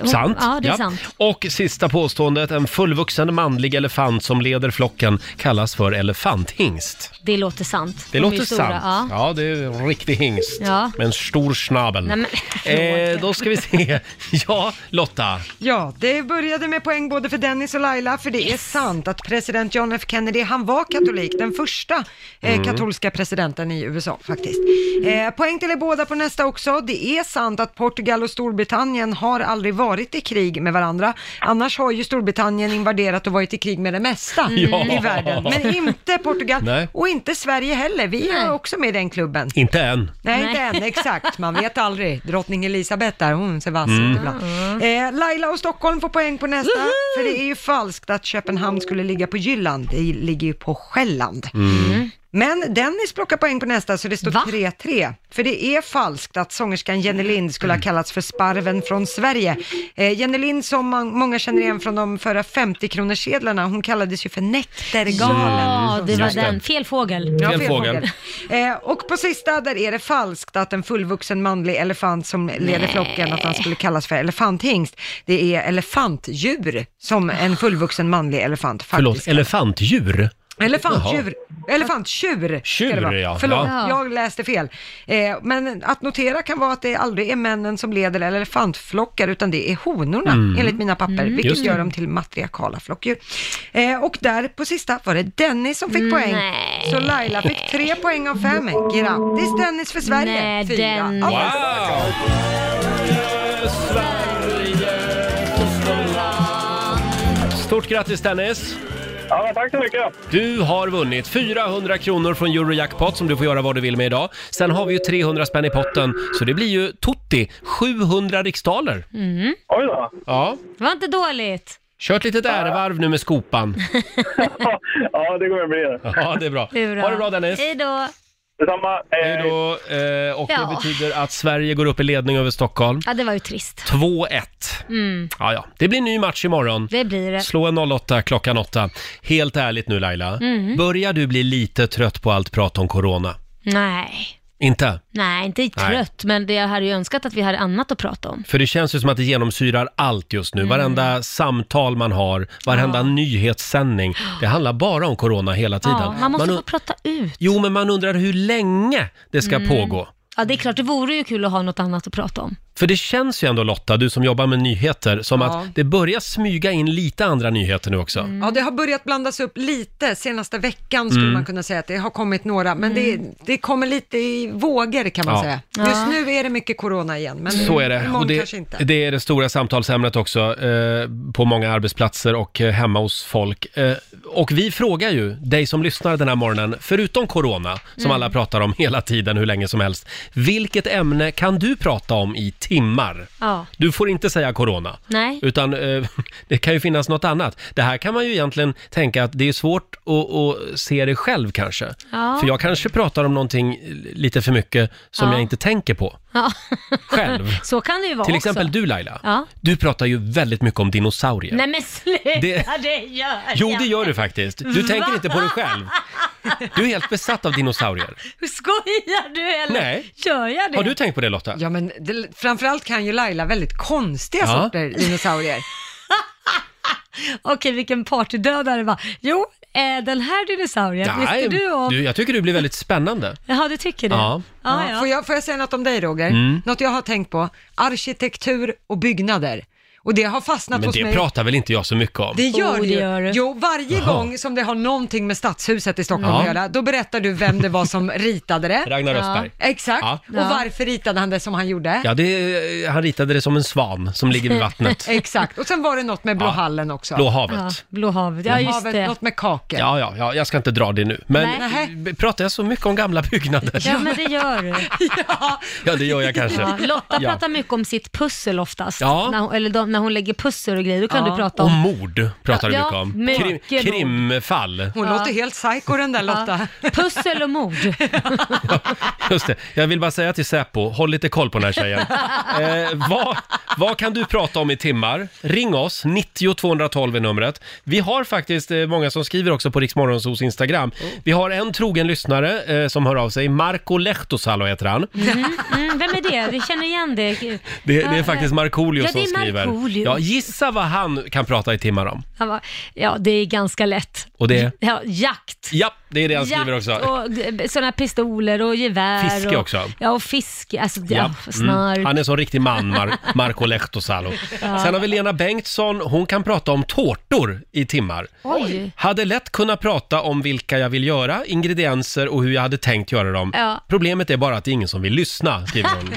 Hon- Sant. Oh, Ja, det är sant. Och sista påståendet, en fullvuxen manlig elefant som leder flocken kallas för elefanthingst. Det låter sant. Det De är låter ju stora, sant. Ja. Ja. det är en riktig hingst. Ja. Med en stor snabel. Nej, men, eh, då ska vi se. Ja, Lotta. Ja, det började med poäng både för Dennis och Laila, för det är sant att president John F Kennedy, han var katolik, den första eh, Mm. katolska presidenten i USA faktiskt. Eh, poäng till er båda på nästa också. Det är sant att Portugal och Storbritannien har aldrig varit varit i krig med varandra. Annars har ju Storbritannien invaderat och varit i krig med det mesta Ja. i världen. Men inte Portugal Nej. och inte Sverige heller. Vi är också med i den klubben. Inte än. Nej, inte än, exakt. Man vet aldrig. Drottning Elisabeth där, hon ser vass ut Mm. ibland. Eh, Laila och Stockholm får poäng på nästa, för det är ju falskt att Köpenhamn skulle ligga på Jylland. Det ligger ju på Själland. Mm. Men Dennis plockar poäng på nästa, så det står 3-3. För det är falskt att sångerskan Jenny Lind skulle ha kallats för sparven från Sverige. Eh, Jenny Lind, som man, många känner igen från de förra 50-kronorssedlarna, hon kallades ju för Näktergalen. Ja, Mm. det var Just det. den. Fel fågel. Ja, fel fågel. Eh, och på sista, där är det falskt att en fullvuxen manlig elefant som leder Nej. flocken, att han skulle kallas för elefanthingst. Det är elefantdjur som en fullvuxen manlig elefant faktiskt. Förlåt, elefantdjur? Elefantdjur. Elefanttjur. ska det Tjur, vara. ja. Förlåt, Ja. jag läste fel. Eh, men att notera kan vara att det aldrig är männen som leder elefantflockar, utan det är honorna, Mm. enligt mina papper, Mm. vilket Just det. gör dem till matriarkala flockdjur. Eh, och där på sista var det Dennis som fick poäng. Nej. Så Laila fick tre poäng av fem. Grattis Dennis för Sverige. Nej, Fyra Dennis. av Wow. fem. Stort grattis Dennis! Ja, tack så mycket. Du har vunnit 400 kronor från Eurojackpot som du får göra vad du vill med idag. Sen har vi ju 300 spänn i potten, så det blir ju tutti 700 riksdaler. Mm. Oj då. Ja, Det var inte dåligt. kör ett litet ärevarv nu med skopan. Ja, det kommer bli det. Ja, det är bra. Det är bra. Ha det bra Dennis! Hej då. Detsamma. Hej då! Eh, och det Ja. betyder att Sverige går upp i ledning över Stockholm. Ja, det var ju trist. 2-1. Mm. Ja, ja. Det blir ny match imorgon. Det blir det. Slå en 08 klockan 8. Helt ärligt nu Laila, Mm. börjar du bli lite trött på allt prat om corona? Nej. Inte? Nej, inte trött, men det jag hade ju önskat att vi hade annat att prata om. För det känns ju som att det genomsyrar allt just nu. Mm. Varenda samtal man har, varenda nyhetssändning. Det handlar bara om corona hela tiden. Ja, man måste un- få prata ut. Jo, men man undrar hur länge det ska Mm. pågå. Ja, det är klart, det vore ju kul att ha något annat att prata om. För det känns ju ändå Lotta, du som jobbar med nyheter, som Ja. att det börjar smyga in lite andra nyheter nu Mm. också. Ja, det har börjat blandas upp lite senaste veckan skulle Mm. man kunna säga att det har kommit några, men det, det kommer lite i vågor kan man Ja. säga. Mm. Ja. Just nu är det mycket corona igen, men Så Mm. är det. imorgon Och det, kanske inte. det är det stora samtalsämnet också eh, på många arbetsplatser och eh, hemma hos folk. Eh, och vi frågar ju dig som lyssnar den här morgonen, förutom corona, som Mm. alla pratar om hela tiden hur länge som helst, vilket ämne kan du prata om i timmar? Ja. Du får inte säga corona. Nej. Utan eh, det kan ju finnas något annat. Det här kan man ju egentligen tänka att det är svårt att, att se det själv kanske. Ja. För jag kanske pratar om någonting lite för mycket som Ja. jag inte tänker på. Ja. Själv. Så kan det ju vara Till också. exempel du Laila, Ja. du pratar ju väldigt mycket om dinosaurier. Nej men sluta, det, Det- gör Jo, jag. det gör du faktiskt. Du Va? tänker inte på dig själv. Du är helt besatt av dinosaurier. Skojar du eller? Nej. Gör jag det? Har du tänkt på det Lotta? Ja, men det, framförallt kan ju Laila väldigt konstiga Ja. sorter dinosaurier. Okej, vilken partydödare va? Jo, eh, den här dinosaurien Nej, visste du om? du, jag tycker du blir väldigt spännande. Jaha, du tycker det? Ja. Ja, ja. Får, jag, får jag säga något om dig Roger? Mm. Något jag har tänkt på, arkitektur och byggnader. Och det har fastnat Men hos det mig. pratar väl inte jag så mycket om? Det gör Oh, det det ju. gör du. Jo, varje Jaha. gång som det har någonting med stadshuset i Stockholm Ja. att göra, då berättar du vem det var som ritade det. Ragnar Östberg. Ja. Exakt. Ja. Och varför ritade han det som han gjorde? Ja, det, han ritade det som en svan som ligger vid vattnet. Exakt. Och sen var det något med Blå Ja. hallen också. Blå havet. Ja, Blå havet, ja Blå just havet, det. Något med kakor. Ja, ja, ja, jag ska inte dra det nu. Men Nej. b- pratar jag så mycket om gamla byggnader? Ja, men det gör du. Ja, det gör jag kanske. Ja, Lotta Ja. pratar mycket om sitt pussel oftast. Ja. När hon, eller de, när hon lägger pussel och grejer, då kan Ja. du prata Och om. mord pratar du Ja, mycket om. mycket Krim, mord. krimfall. Hon Ja. låter helt psycho den där Lotta. Pussel och mord. Mm, Just det. Jag vill bara säga till Säpo, håll lite koll på den här tjejen. Eh, vad, vad kan du prata om i timmar? Ring oss, 90 212 är numret. Vi har faktiskt eh, många som skriver också på Riksmorgonsos Instagram. Oh. Vi har en trogen lyssnare eh, som hör av sig, Marco Lehtosalo heter han. Mm, mm, vem är det? Vi känner igen det. Det, det är faktiskt Markoolio Ja, det som är skriver. Markoolio. Ja, gissa vad han kan prata i timmar om. Han bara, ja, det är ganska lätt. Och det är? Ja, jakt. Ja, det är det han skriver Jakt också. och g- sådana här pistoler och gevär. Fiske och, också. Ja, och fiske. Alltså, ja, Ja, snark. Mm. Han är som riktig man, Mar- Marco Lehtosalo. Ja. Sen har vi Lena Bengtsson, hon kan prata om tårtor i timmar. Oj. Hade lätt kunnat prata om vilka jag vill göra, ingredienser och hur jag hade tänkt göra dem. Ja. Problemet är bara att det är ingen som vill lyssna, skriver hon.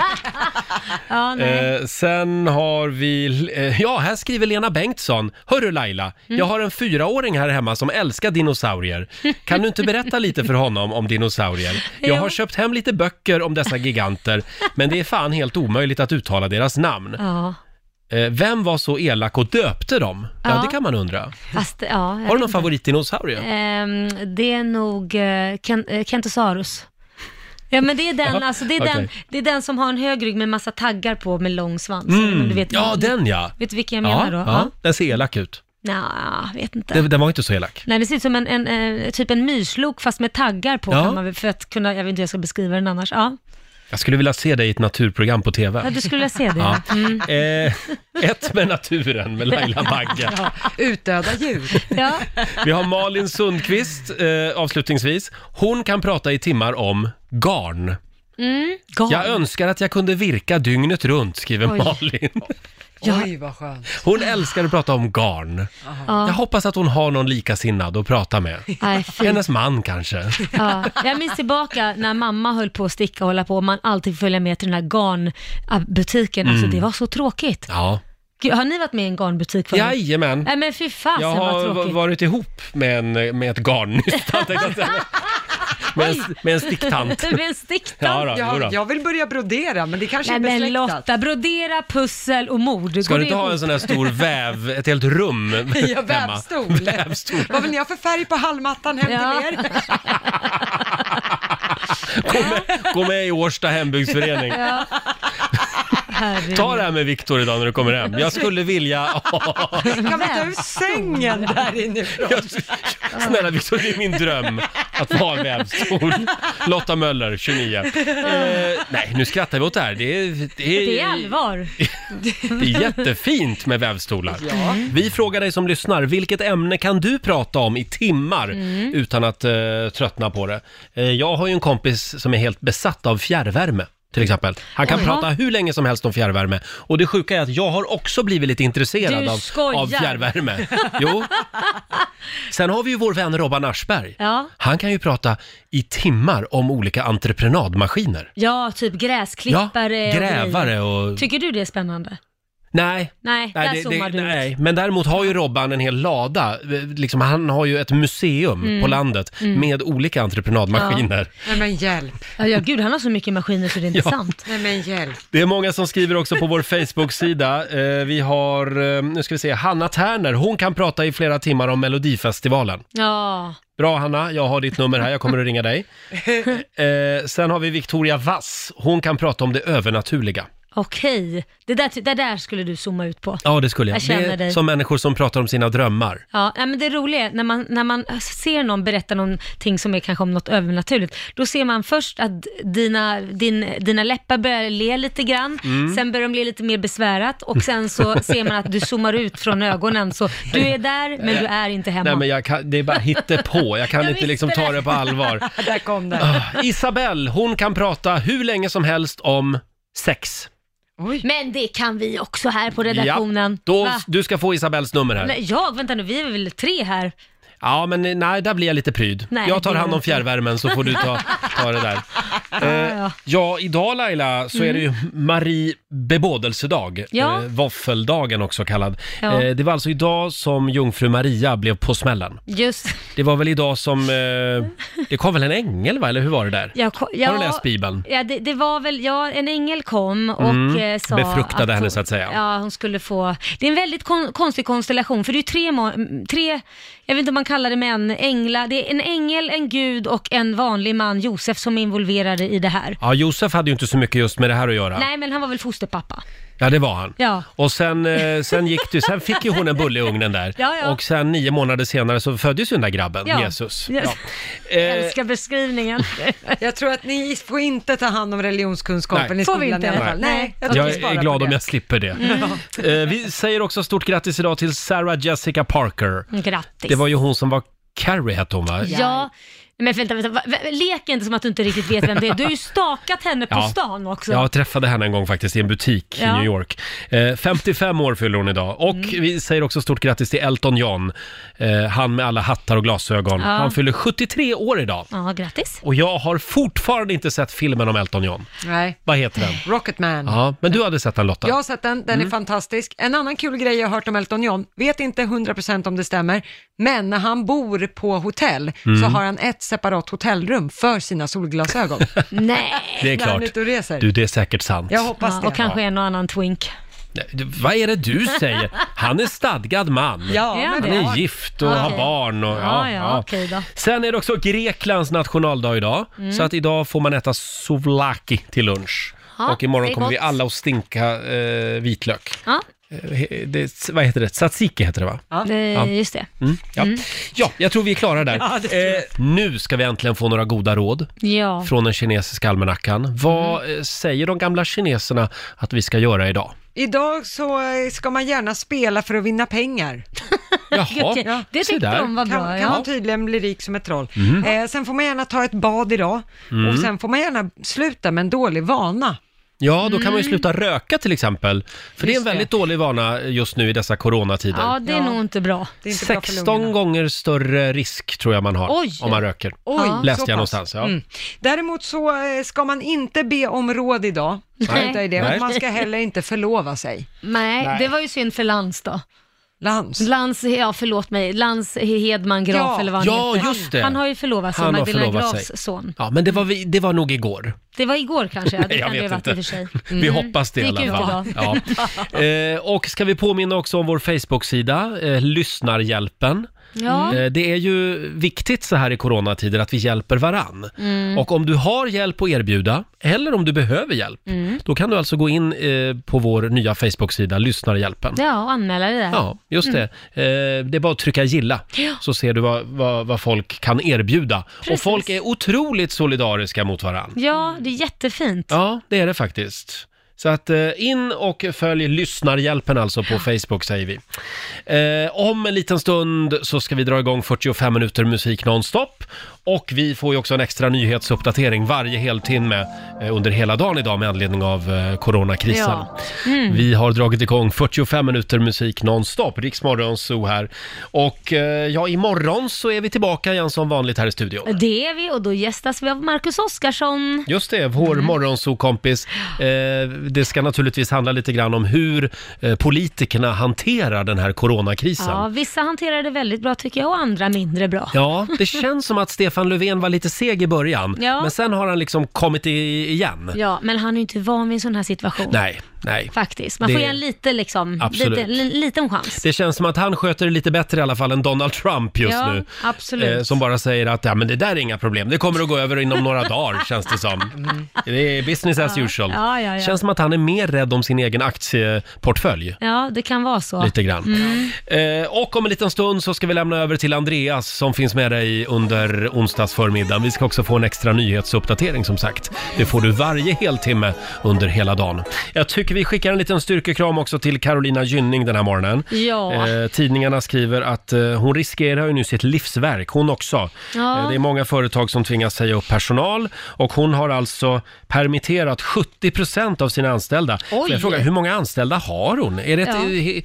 Ja, nej. eh, sen Eh, har vi eh, ja, här skriver Lena Bengtsson. Hörru Laila, jag har en fyraåring här hemma som älskar dinosaurier. Kan du inte berätta lite för honom om dinosaurier? Jag har Jo. köpt hem lite böcker om dessa giganter, men det är fan helt omöjligt att uttala deras namn. Ja. Eh, Vem var så elak och döpte dem? Ja, Ja. det kan man undra. Fast, ja, jag Har du någon vet favoritdinosaurie? Ehm, det är nog eh, Ken- eh, Kentosaurus. Ja men det är den, Ja, alltså, det är den, okej. det är den som har en hög rygg med massa taggar på med lång svans. Mm, Men Du vet, ja, den ja. Vet du vilken jag menar då? Ja, Ja. ja. Den ser elak ut. Nja, jag vet inte. Den, den var inte så elak. Nej, det ser ut som en, en, eh, typ en myslok fast med taggar på Ja. kan man, väl- för att kunna, jag vet inte hur jag ska beskriva den annars. Ja, Jag skulle vilja se dig i ett naturprogram på TV. ja du skulle vilja se det. Ja. Mm. Eh, ett med naturen med Laila Bagge. Utdöda djur. Ja. Vi har Malin Sundqvist eh, avslutningsvis. Hon kan prata i timmar om garn. Mm. Garn. Jag önskar att jag kunde virka dygnet runt, skriver Oj. Malin. Oj, vad skönt. Hon älskar att prata om garn. Ja. Jag hoppas att hon har någon likasinnad att prata med. Nej, fy. Hennes man kanske. Ja, jag minns tillbaka när mamma höll på att sticka och hålla på och man alltid följde med till den här garnbutiken. Alltså Mm. det var så tråkigt. Ja. Gud, har ni varit med i en garnbutik förut? Jajamän. Nej men fy fasen Jag har vad va- tråkigt. varit ihop med, en, med ett garnnystan, tänkte jag säga. med, en, med en sticktant. med en sticktant. Ja, då, jo då. jag vill börja brodera, men det kanske Nej är men besläktat. Lotta, brodera, pussel och mord. Ska Går du det inte ha ihop? en sån här stor väv, ett helt rum Ja, hemma? vävstol. Vävstol. Vad vill ni ha för färg på hallmattan hem till er? Gå med i Årsta hembygdsförening. Ja. Herregud. Ta det här med Viktor idag när du kommer hem. Jag skulle vilja... Kan vi ta ut sängen där inifrån? Snälla Viktor, det är min dröm att vara en vävstol. Lotta Möller, 29. Eh, nej, nu skrattar vi åt det här. Det är, det är, Det är allvar. det är jättefint med vävstolar. Ja. Vi frågar dig som lyssnar, vilket ämne kan du prata om i timmar Mm. utan att eh, tröttna på det? Eh, jag har ju en kompis som är helt besatt av fjärrvärme. Till exempel. Han kan Oj. prata hur länge som helst om fjärrvärme. Och det sjuka är att jag har också blivit lite intresserad Du av, skojar. av fjärrvärme. Jo. Sen har vi ju vår vän Robban Aschberg. Ja. Han kan ju prata i timmar om olika entreprenadmaskiner. ja, typ gräsklippare Ja, och grävare grejer. och- Tycker du det är spännande? Nej, Nej, där det- zoomar det, du ut. nej, men däremot har ju Robban en hel lada. Eh, Liksom, han har ju ett museum Mm. på landet Mm. med olika entreprenadmaskiner. Nej men hjälp. Ja, ja, gud han har så mycket maskiner så det är inte Ja. sant. Nej men hjälp. Det är många som skriver också på vår Facebook-sida. Eh, vi har, eh, nu ska vi se, Hanna Tärner. Hon kan prata i flera timmar om Melodifestivalen. Ja. Bra Hanna, jag har ditt nummer här, jag kommer att ringa dig. Eh, sen har vi Victoria Vass. Hon kan prata om det övernaturliga. Okej, det där, det där skulle du zooma ut på. Ja, det skulle jag. Jag känner det är dig. som människor som pratar om sina drömmar. Ja, nej, men det roliga är när man, när man ser någon berätta någonting som är kanske om något övernaturligt, då ser man först att dina, din, dina läppar börjar le lite grann, Mm. sen börjar de le lite mer besvärat och sen så ser man att du zoomar ut från ögonen. Så du är där, men du är inte hemma. Nej, men jag kan, det är bara hittepå. Jag kan Jag inte liksom visste ta det. det på allvar. Där kom den. Ah, Isabelle, hon kan prata hur länge som helst om sex. Men det kan vi också här på redaktionen. Ja, då, Va? du ska få Isabelles nummer Nej, här. jag? Vänta nu, vi är väl tre här? Ja, men nej, där blir jag lite pryd. Nej, jag tar det gör hand om inte. fjärrvärmen så får du ta, ta det där. Eh, ja, idag Laila så är det ju Marie bebådelsedag. Mm. Ja. Eh, våffeldagen också kallad. Ja. Eh, det var alltså idag som jungfru Maria blev på smällen. Just. Det var väl idag som... Eh, det kom väl en ängel va, eller hur var det där? Jag, ko- ja, Har du läst Bibeln? Ja, det, det var väl, ja, en ängel kom och Mm, eh, sa befruktade att henne, hon, så att säga. Ja, hon skulle få, det är en väldigt kon, konstig konstellation, för det är ju tre, mo- m, tre, jag vet inte om man kallar det män, änglar, det är en ängel, en gud och en vanlig man, Josef, som är involverade i det här. Ja, Josef hade ju inte så mycket just med det här att göra. Nej, men han var väl fosterpappa. Ja, det var han. Ja. Och sen, eh, sen gick det, sen fick ju hon en bulle i ugnen där. Ja, ja. Och sen nio månader senare så föddes ju den där grabben, Ja. Jesus. Yes. Ja. Eh. Jag älskar beskrivningen. Jag tror att ni får inte ta hand om religionskunskapen Nej. i Får skolan vi i inte? alla fall. Nej. jag tror Eh, Jag vi sparar är på glad det. om jag slipper det. Mm. Eh, vi säger också stort grattis idag till Sarah Jessica Parker. Grattis. Det var ju hon som var Carrie hette hon va? Ja, Men vänta, vänta, va- va- lek inte som att du inte riktigt vet vem det är. Du har ju stakat henne på Ja. stan också. Jag träffade henne en gång faktiskt i en butik Ja. Mm. i New York. Eh, 55 år fyller hon idag och vi säger också stort grattis till Elton John. Eh, han med alla hattar och glasögon. Ja. Han fyller 73 år idag. Ja, grattis. Och jag har fortfarande inte sett filmen om Elton John. Nej. Vad heter den? Rocketman. Ja, men du hade sett den Lotta? Jag har sett den, den Mm. är fantastisk. En annan kul grej jag har hört om Elton John, vet inte 100% om det stämmer, men när han bor på hotell så Mm. har han ett separat hotellrum för sina solglasögon. Nej. Det är När han klart. är ute och reser. Du, det är säkert sant. Jag hoppas Ja, det. och kanske en och annan twink. Nej, du- Vad är det du säger? Han är stadgad man. Ja, men han det är är han. gift och Okej. har barn. Och, Ja, ja, okej då. Sen är det också Greklands nationaldag idag. Mm. Så att idag får man äta souvlaki till lunch. Ja, och imorgon det är kommer vi gott. alla att stinka eh, vitlök. Ja, Eh, he- Det, vad heter det? Tzatziki heter det va? ja. Ja. just det. Mm, ja. ja, jag tror vi är klara där. Ja, det tror jag. Eh, nu ska vi äntligen få några goda råd Ja. Mm. från den kinesiska almanackan. Vad eh, säger de gamla kineserna att vi ska göra idag? Idag så eh, ska man gärna spela för att vinna pengar. Jaha, Gud, det se tyckte där. de var bra, Kan, kan ja. man typ- tydligen bli rik som ett troll. Mm. Eh, sen får man gärna ta ett bad idag Mm. och sen får man gärna sluta med en dålig vana. Ja, då kan man ju Mm. sluta röka till exempel. För det är en Just det. väldigt dålig vana just nu i dessa coronatider. Ja, det är nog inte bra. Det är inte bra för 16 gånger större risk tror jag man har Oj. om man röker. Oj, Läste så jag pass. någonstans. Ja. Mm. Däremot så eh, ska man inte be om råd idag. Nej. Strunta i det. Nej. Och man ska heller inte förlova sig. Nej, Nej. det var ju synd för Lans då. Lans? Lans, ja förlåt mig, Lans Hedman Graf Ja. eller vad han Ja, heter. just det. Han har ju förlovat sig, Han har Alltså, Magdalena förlovat Grafs sig. son. Ja, men det var, vi, det var nog igår. Det var igår kanske, ja, det Jag kan det vet ju ha varit inte. i och för sig. Mm. Vi hoppas det i Det gick alla ut fall. idag. Ja. Eh, och ska vi påminna också om vår Facebook-sida, eh, Lyssnarhjälpen. Ja. Eh, det är ju viktigt så här i coronatider att vi hjälper varann. Mm. Och om du har hjälp att erbjuda, eller om du behöver hjälp, Mm. då kan du alltså gå in eh, på vår nya Facebook-sida, Lyssnarhjälpen. Ja, och anmäla det där. Ja, just det. Mm. Eh, det är bara att trycka gilla, Ja. så ser du vad, vad, vad folk kan erbjuda. Och Precis. folk är otroligt solidariska mot varandra. Ja, det är jättefint. Ja, det är det faktiskt. Så att eh, in och följ lyssnarhjälpen alltså på Facebook säger vi. Eh, om en liten stund så ska vi dra igång 45 minuter musik nonstop. Och vi får ju också en extra nyhetsuppdatering varje heltimme eh, under hela dagen idag med anledning av eh, coronakrisen. Ja. Mm. Vi har dragit igång 45 minuter musik nonstop, Riksmorgon Zoo här. Och eh, ja, imorgon så är vi tillbaka igen som vanligt här i studion. Det är vi och då gästas vi av Marcus Oskarsson. Just det, vår mm. morgonsokompis. Eh, det ska naturligtvis handla lite grann om hur eh, politikerna hanterar den här coronakrisen. Ja, Ja. vissa hanterar det väldigt bra tycker jag och andra mindre bra. det känns som att Stefan Löfven var lite seg i början, Ja. men sen har han liksom kommit i, igen. Ja, men han är ju inte van vid en sån här situation. Nej, nej. Faktiskt. Man Det- får ge en lite, liksom, Absolut. lite, li- liten chans. Det känns som att han sköter det lite bättre i alla fall än Donald Trump just ja, nu. absolut. Eh, som bara säger att ja, men det där är inga problem, det kommer att gå över inom några dagar känns det som. Det är business as usual. Mm. Ja, ja, ja. Känns som att han är mer rädd om sin egen aktieportfölj. Ja, det kan vara så. Lite grann. Mm. Eh, och om en liten stund så ska vi lämna över till Andreas som finns med dig under onsdagsförmiddagen. Vi ska också få en extra nyhetsuppdatering som sagt. Det får du varje heltimme under hela dagen. Jag tycker vi skickar en liten styrkekram också till Carolina Gynning den här morgonen. Ja. Eh, tidningarna skriver att eh, hon riskerar ju nu sitt livsverk, hon också. Ja. Eh, det är många företag som tvingas säga upp personal och hon har alltså permitterat 70% av sina anställda. Oj. Får Jag frågar, hur många anställda har hon? Är det ett Ja. eh, he-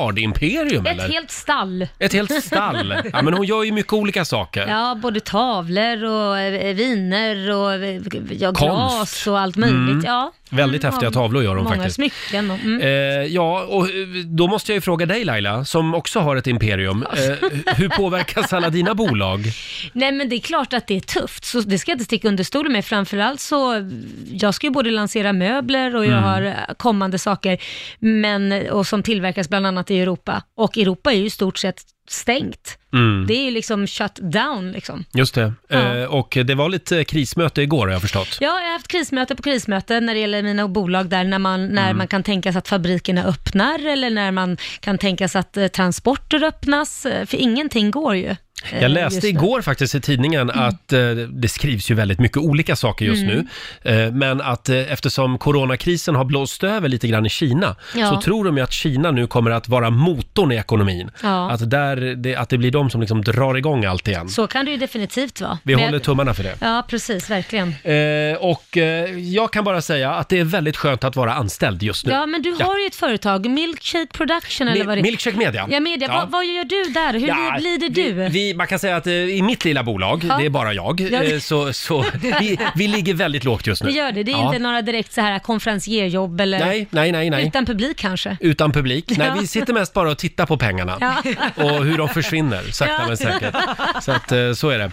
miljardimperium eller? Ett helt stall. Ett helt stall. Ja, men hon gör ju mycket olika saker. Ja, både tavlor och eh, viner och eh, ja, Konst. glas och allt möjligt. Mm. Ja. Väldigt Mm, häftiga ja, tavlor gör hon Många faktiskt. smycken och... Mm. Eh, ja, och eh, då måste jag ju fråga dig Laila, som också har ett imperium. Eh, hur påverkas alla dina bolag? Nej men det är klart att det är tufft, så det ska jag inte sticka under stolen med. Framförallt så, jag ska ju både lansera möbler och jag Mm. har eh, kommande saker, men, och som tillverkas bland annat i Europa. Och Europa är ju i stort sett stängt. Mm. Det är ju liksom shut down liksom. Just det. Eh, Ja. och det var lite krismöte igår har jag förstått. Ja, jag har haft krismöte på krismöte när det gäller mina bolag där, när man, när Mm. man kan tänka sig att fabrikerna öppnar eller när man kan tänka sig att eh, transporter öppnas, eh, för ingenting går ju. Eh, Jag läste just igår faktiskt i tidningen att eh, det skrivs ju väldigt mycket olika saker just Mm. nu. Eh, men att eh, eftersom coronakrisen har blåst över lite grann i Kina Ja. så tror de ju att Kina nu kommer att vara motorn i ekonomin. Ja. Att, där, det, att det blir de som liksom drar igång allt igen. Så kan det ju definitivt vara. Vi Men- håller tummarna för det. Ja, precis, verkligen. Eh, och eh, jag kan bara säga att det är väldigt skönt att vara anställd just nu. Ja, men du har ju ett företag, Milkshake Production eller Mi- vad det Milkshake Media. Ja, media. Ja. Vad, vad gör du där? Hur Ja, lider du? Vi, vi, man kan säga att eh, i mitt lilla bolag, Ja. det är bara jag, Ja, det- eh, så, så vi, vi ligger väldigt lågt just nu. Det gör det. Det är Ja. inte några direkt så här konferensierjobb eller Nej, nej, nej, nej. utan publik kanske. Utan publik. Nej, Ja. vi sitter mest bara och tittar på pengarna. Ja. Och hur de försvinner, sakta Ja. men säkert. Så att, eh, så är det.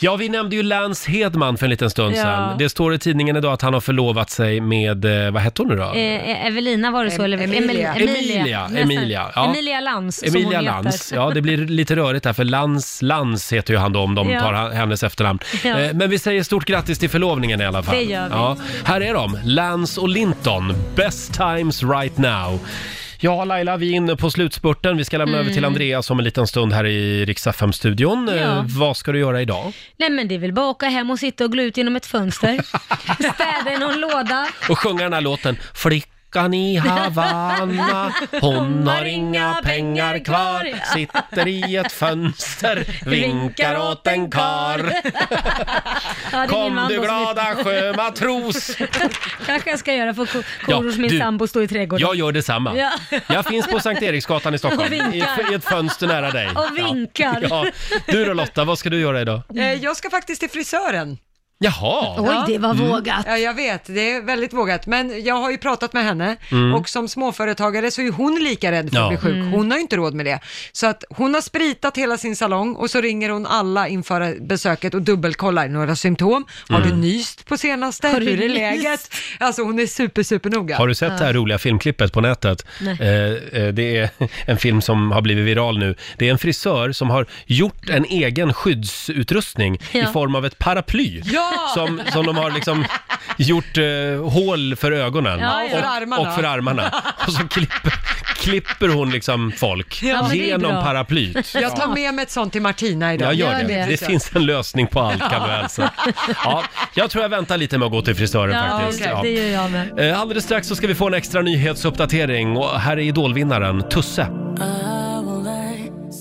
Ja, vi nämnde ju Lance Hedman för en liten stund Ja. sedan. Det står i tidningen idag att han har förlovat sig med, eh, vad hette hon nu då? Eh, Evelina var det så? Eller? Emilia. Emil- Emilia, Nästan. Emilia, ja. Emilia Lantz, Emilia som hon Lantz. heter. Ja, det blir lite rörigt här för Lantz, Lantz heter ju han då om de Ja. tar ha- hennes efternamn. Ja. Eh, Men vi säger stort grattis till förlovningen i alla fall. Det gör vi. Ja. Här är de, Lance och Linton. Best times right now. Ja, Laila, vi är inne på slutspurten. Vi ska lämna Mm. över till Andreas om en liten stund här i Rix studion Ja. Vad ska du göra idag? Nej men det är väl bara att åka hem och sitta och glo ut genom ett fönster. Städa i någon låda. Och sjunga den här låten Flickan i Havanna, hon har inga pengar kvar Sitter i ett fönster, vinkar åt en kar Ja, det är min Kom man du då som- glada sjömatros Kanske jag ska göra för ko- Ja, korus min du, sambo står i trädgården. Jag gör detsamma. Ja. Jag finns på Sankt Eriksgatan i Stockholm, Och i vinkar. ett, i ett fönster nära dig. Och vinkar. Ja. Du då Lotta, vad ska du göra idag? Eh, Jag ska faktiskt till frisören. Jaha! Ja. Mm. Ja, jag vet. Det är väldigt vågat. Men jag har ju pratat med henne Mm. och som småföretagare så är hon lika rädd för att Ja. bli sjuk. Mm. Hon har ju inte råd med det. Så att hon har spritat hela sin salong och så ringer hon alla inför besöket och dubbelkollar några symptom. Har Mm. du nyst på senaste? Har du Hur är nyst? läget? Alltså hon är super, super noga. Har du sett det här roliga filmklippet på nätet? Nej. Eh, eh, det är en film som har blivit viral nu. Det är en frisör som har gjort en egen skyddsutrustning i Ja. form av ett paraply. Ja! Som, som de har liksom gjort eh, hål för ögonen Ja, ja. Och, Och för armarna. och för armarna. Och så klipper, klipper hon liksom folk Ja, men det är genom bra. paraplyt. Jag tar med mig ett sånt till Martina Jag idag. gör det. Det, finns en lösning på allt kan Ja. du alltså. Ja, jag tror jag väntar lite med att gå till frisören faktiskt. okej. Ja. det gör jag med. Eh, Alldeles strax så ska vi få en extra nyhetsuppdatering och här är idolvinnaren Tusse. I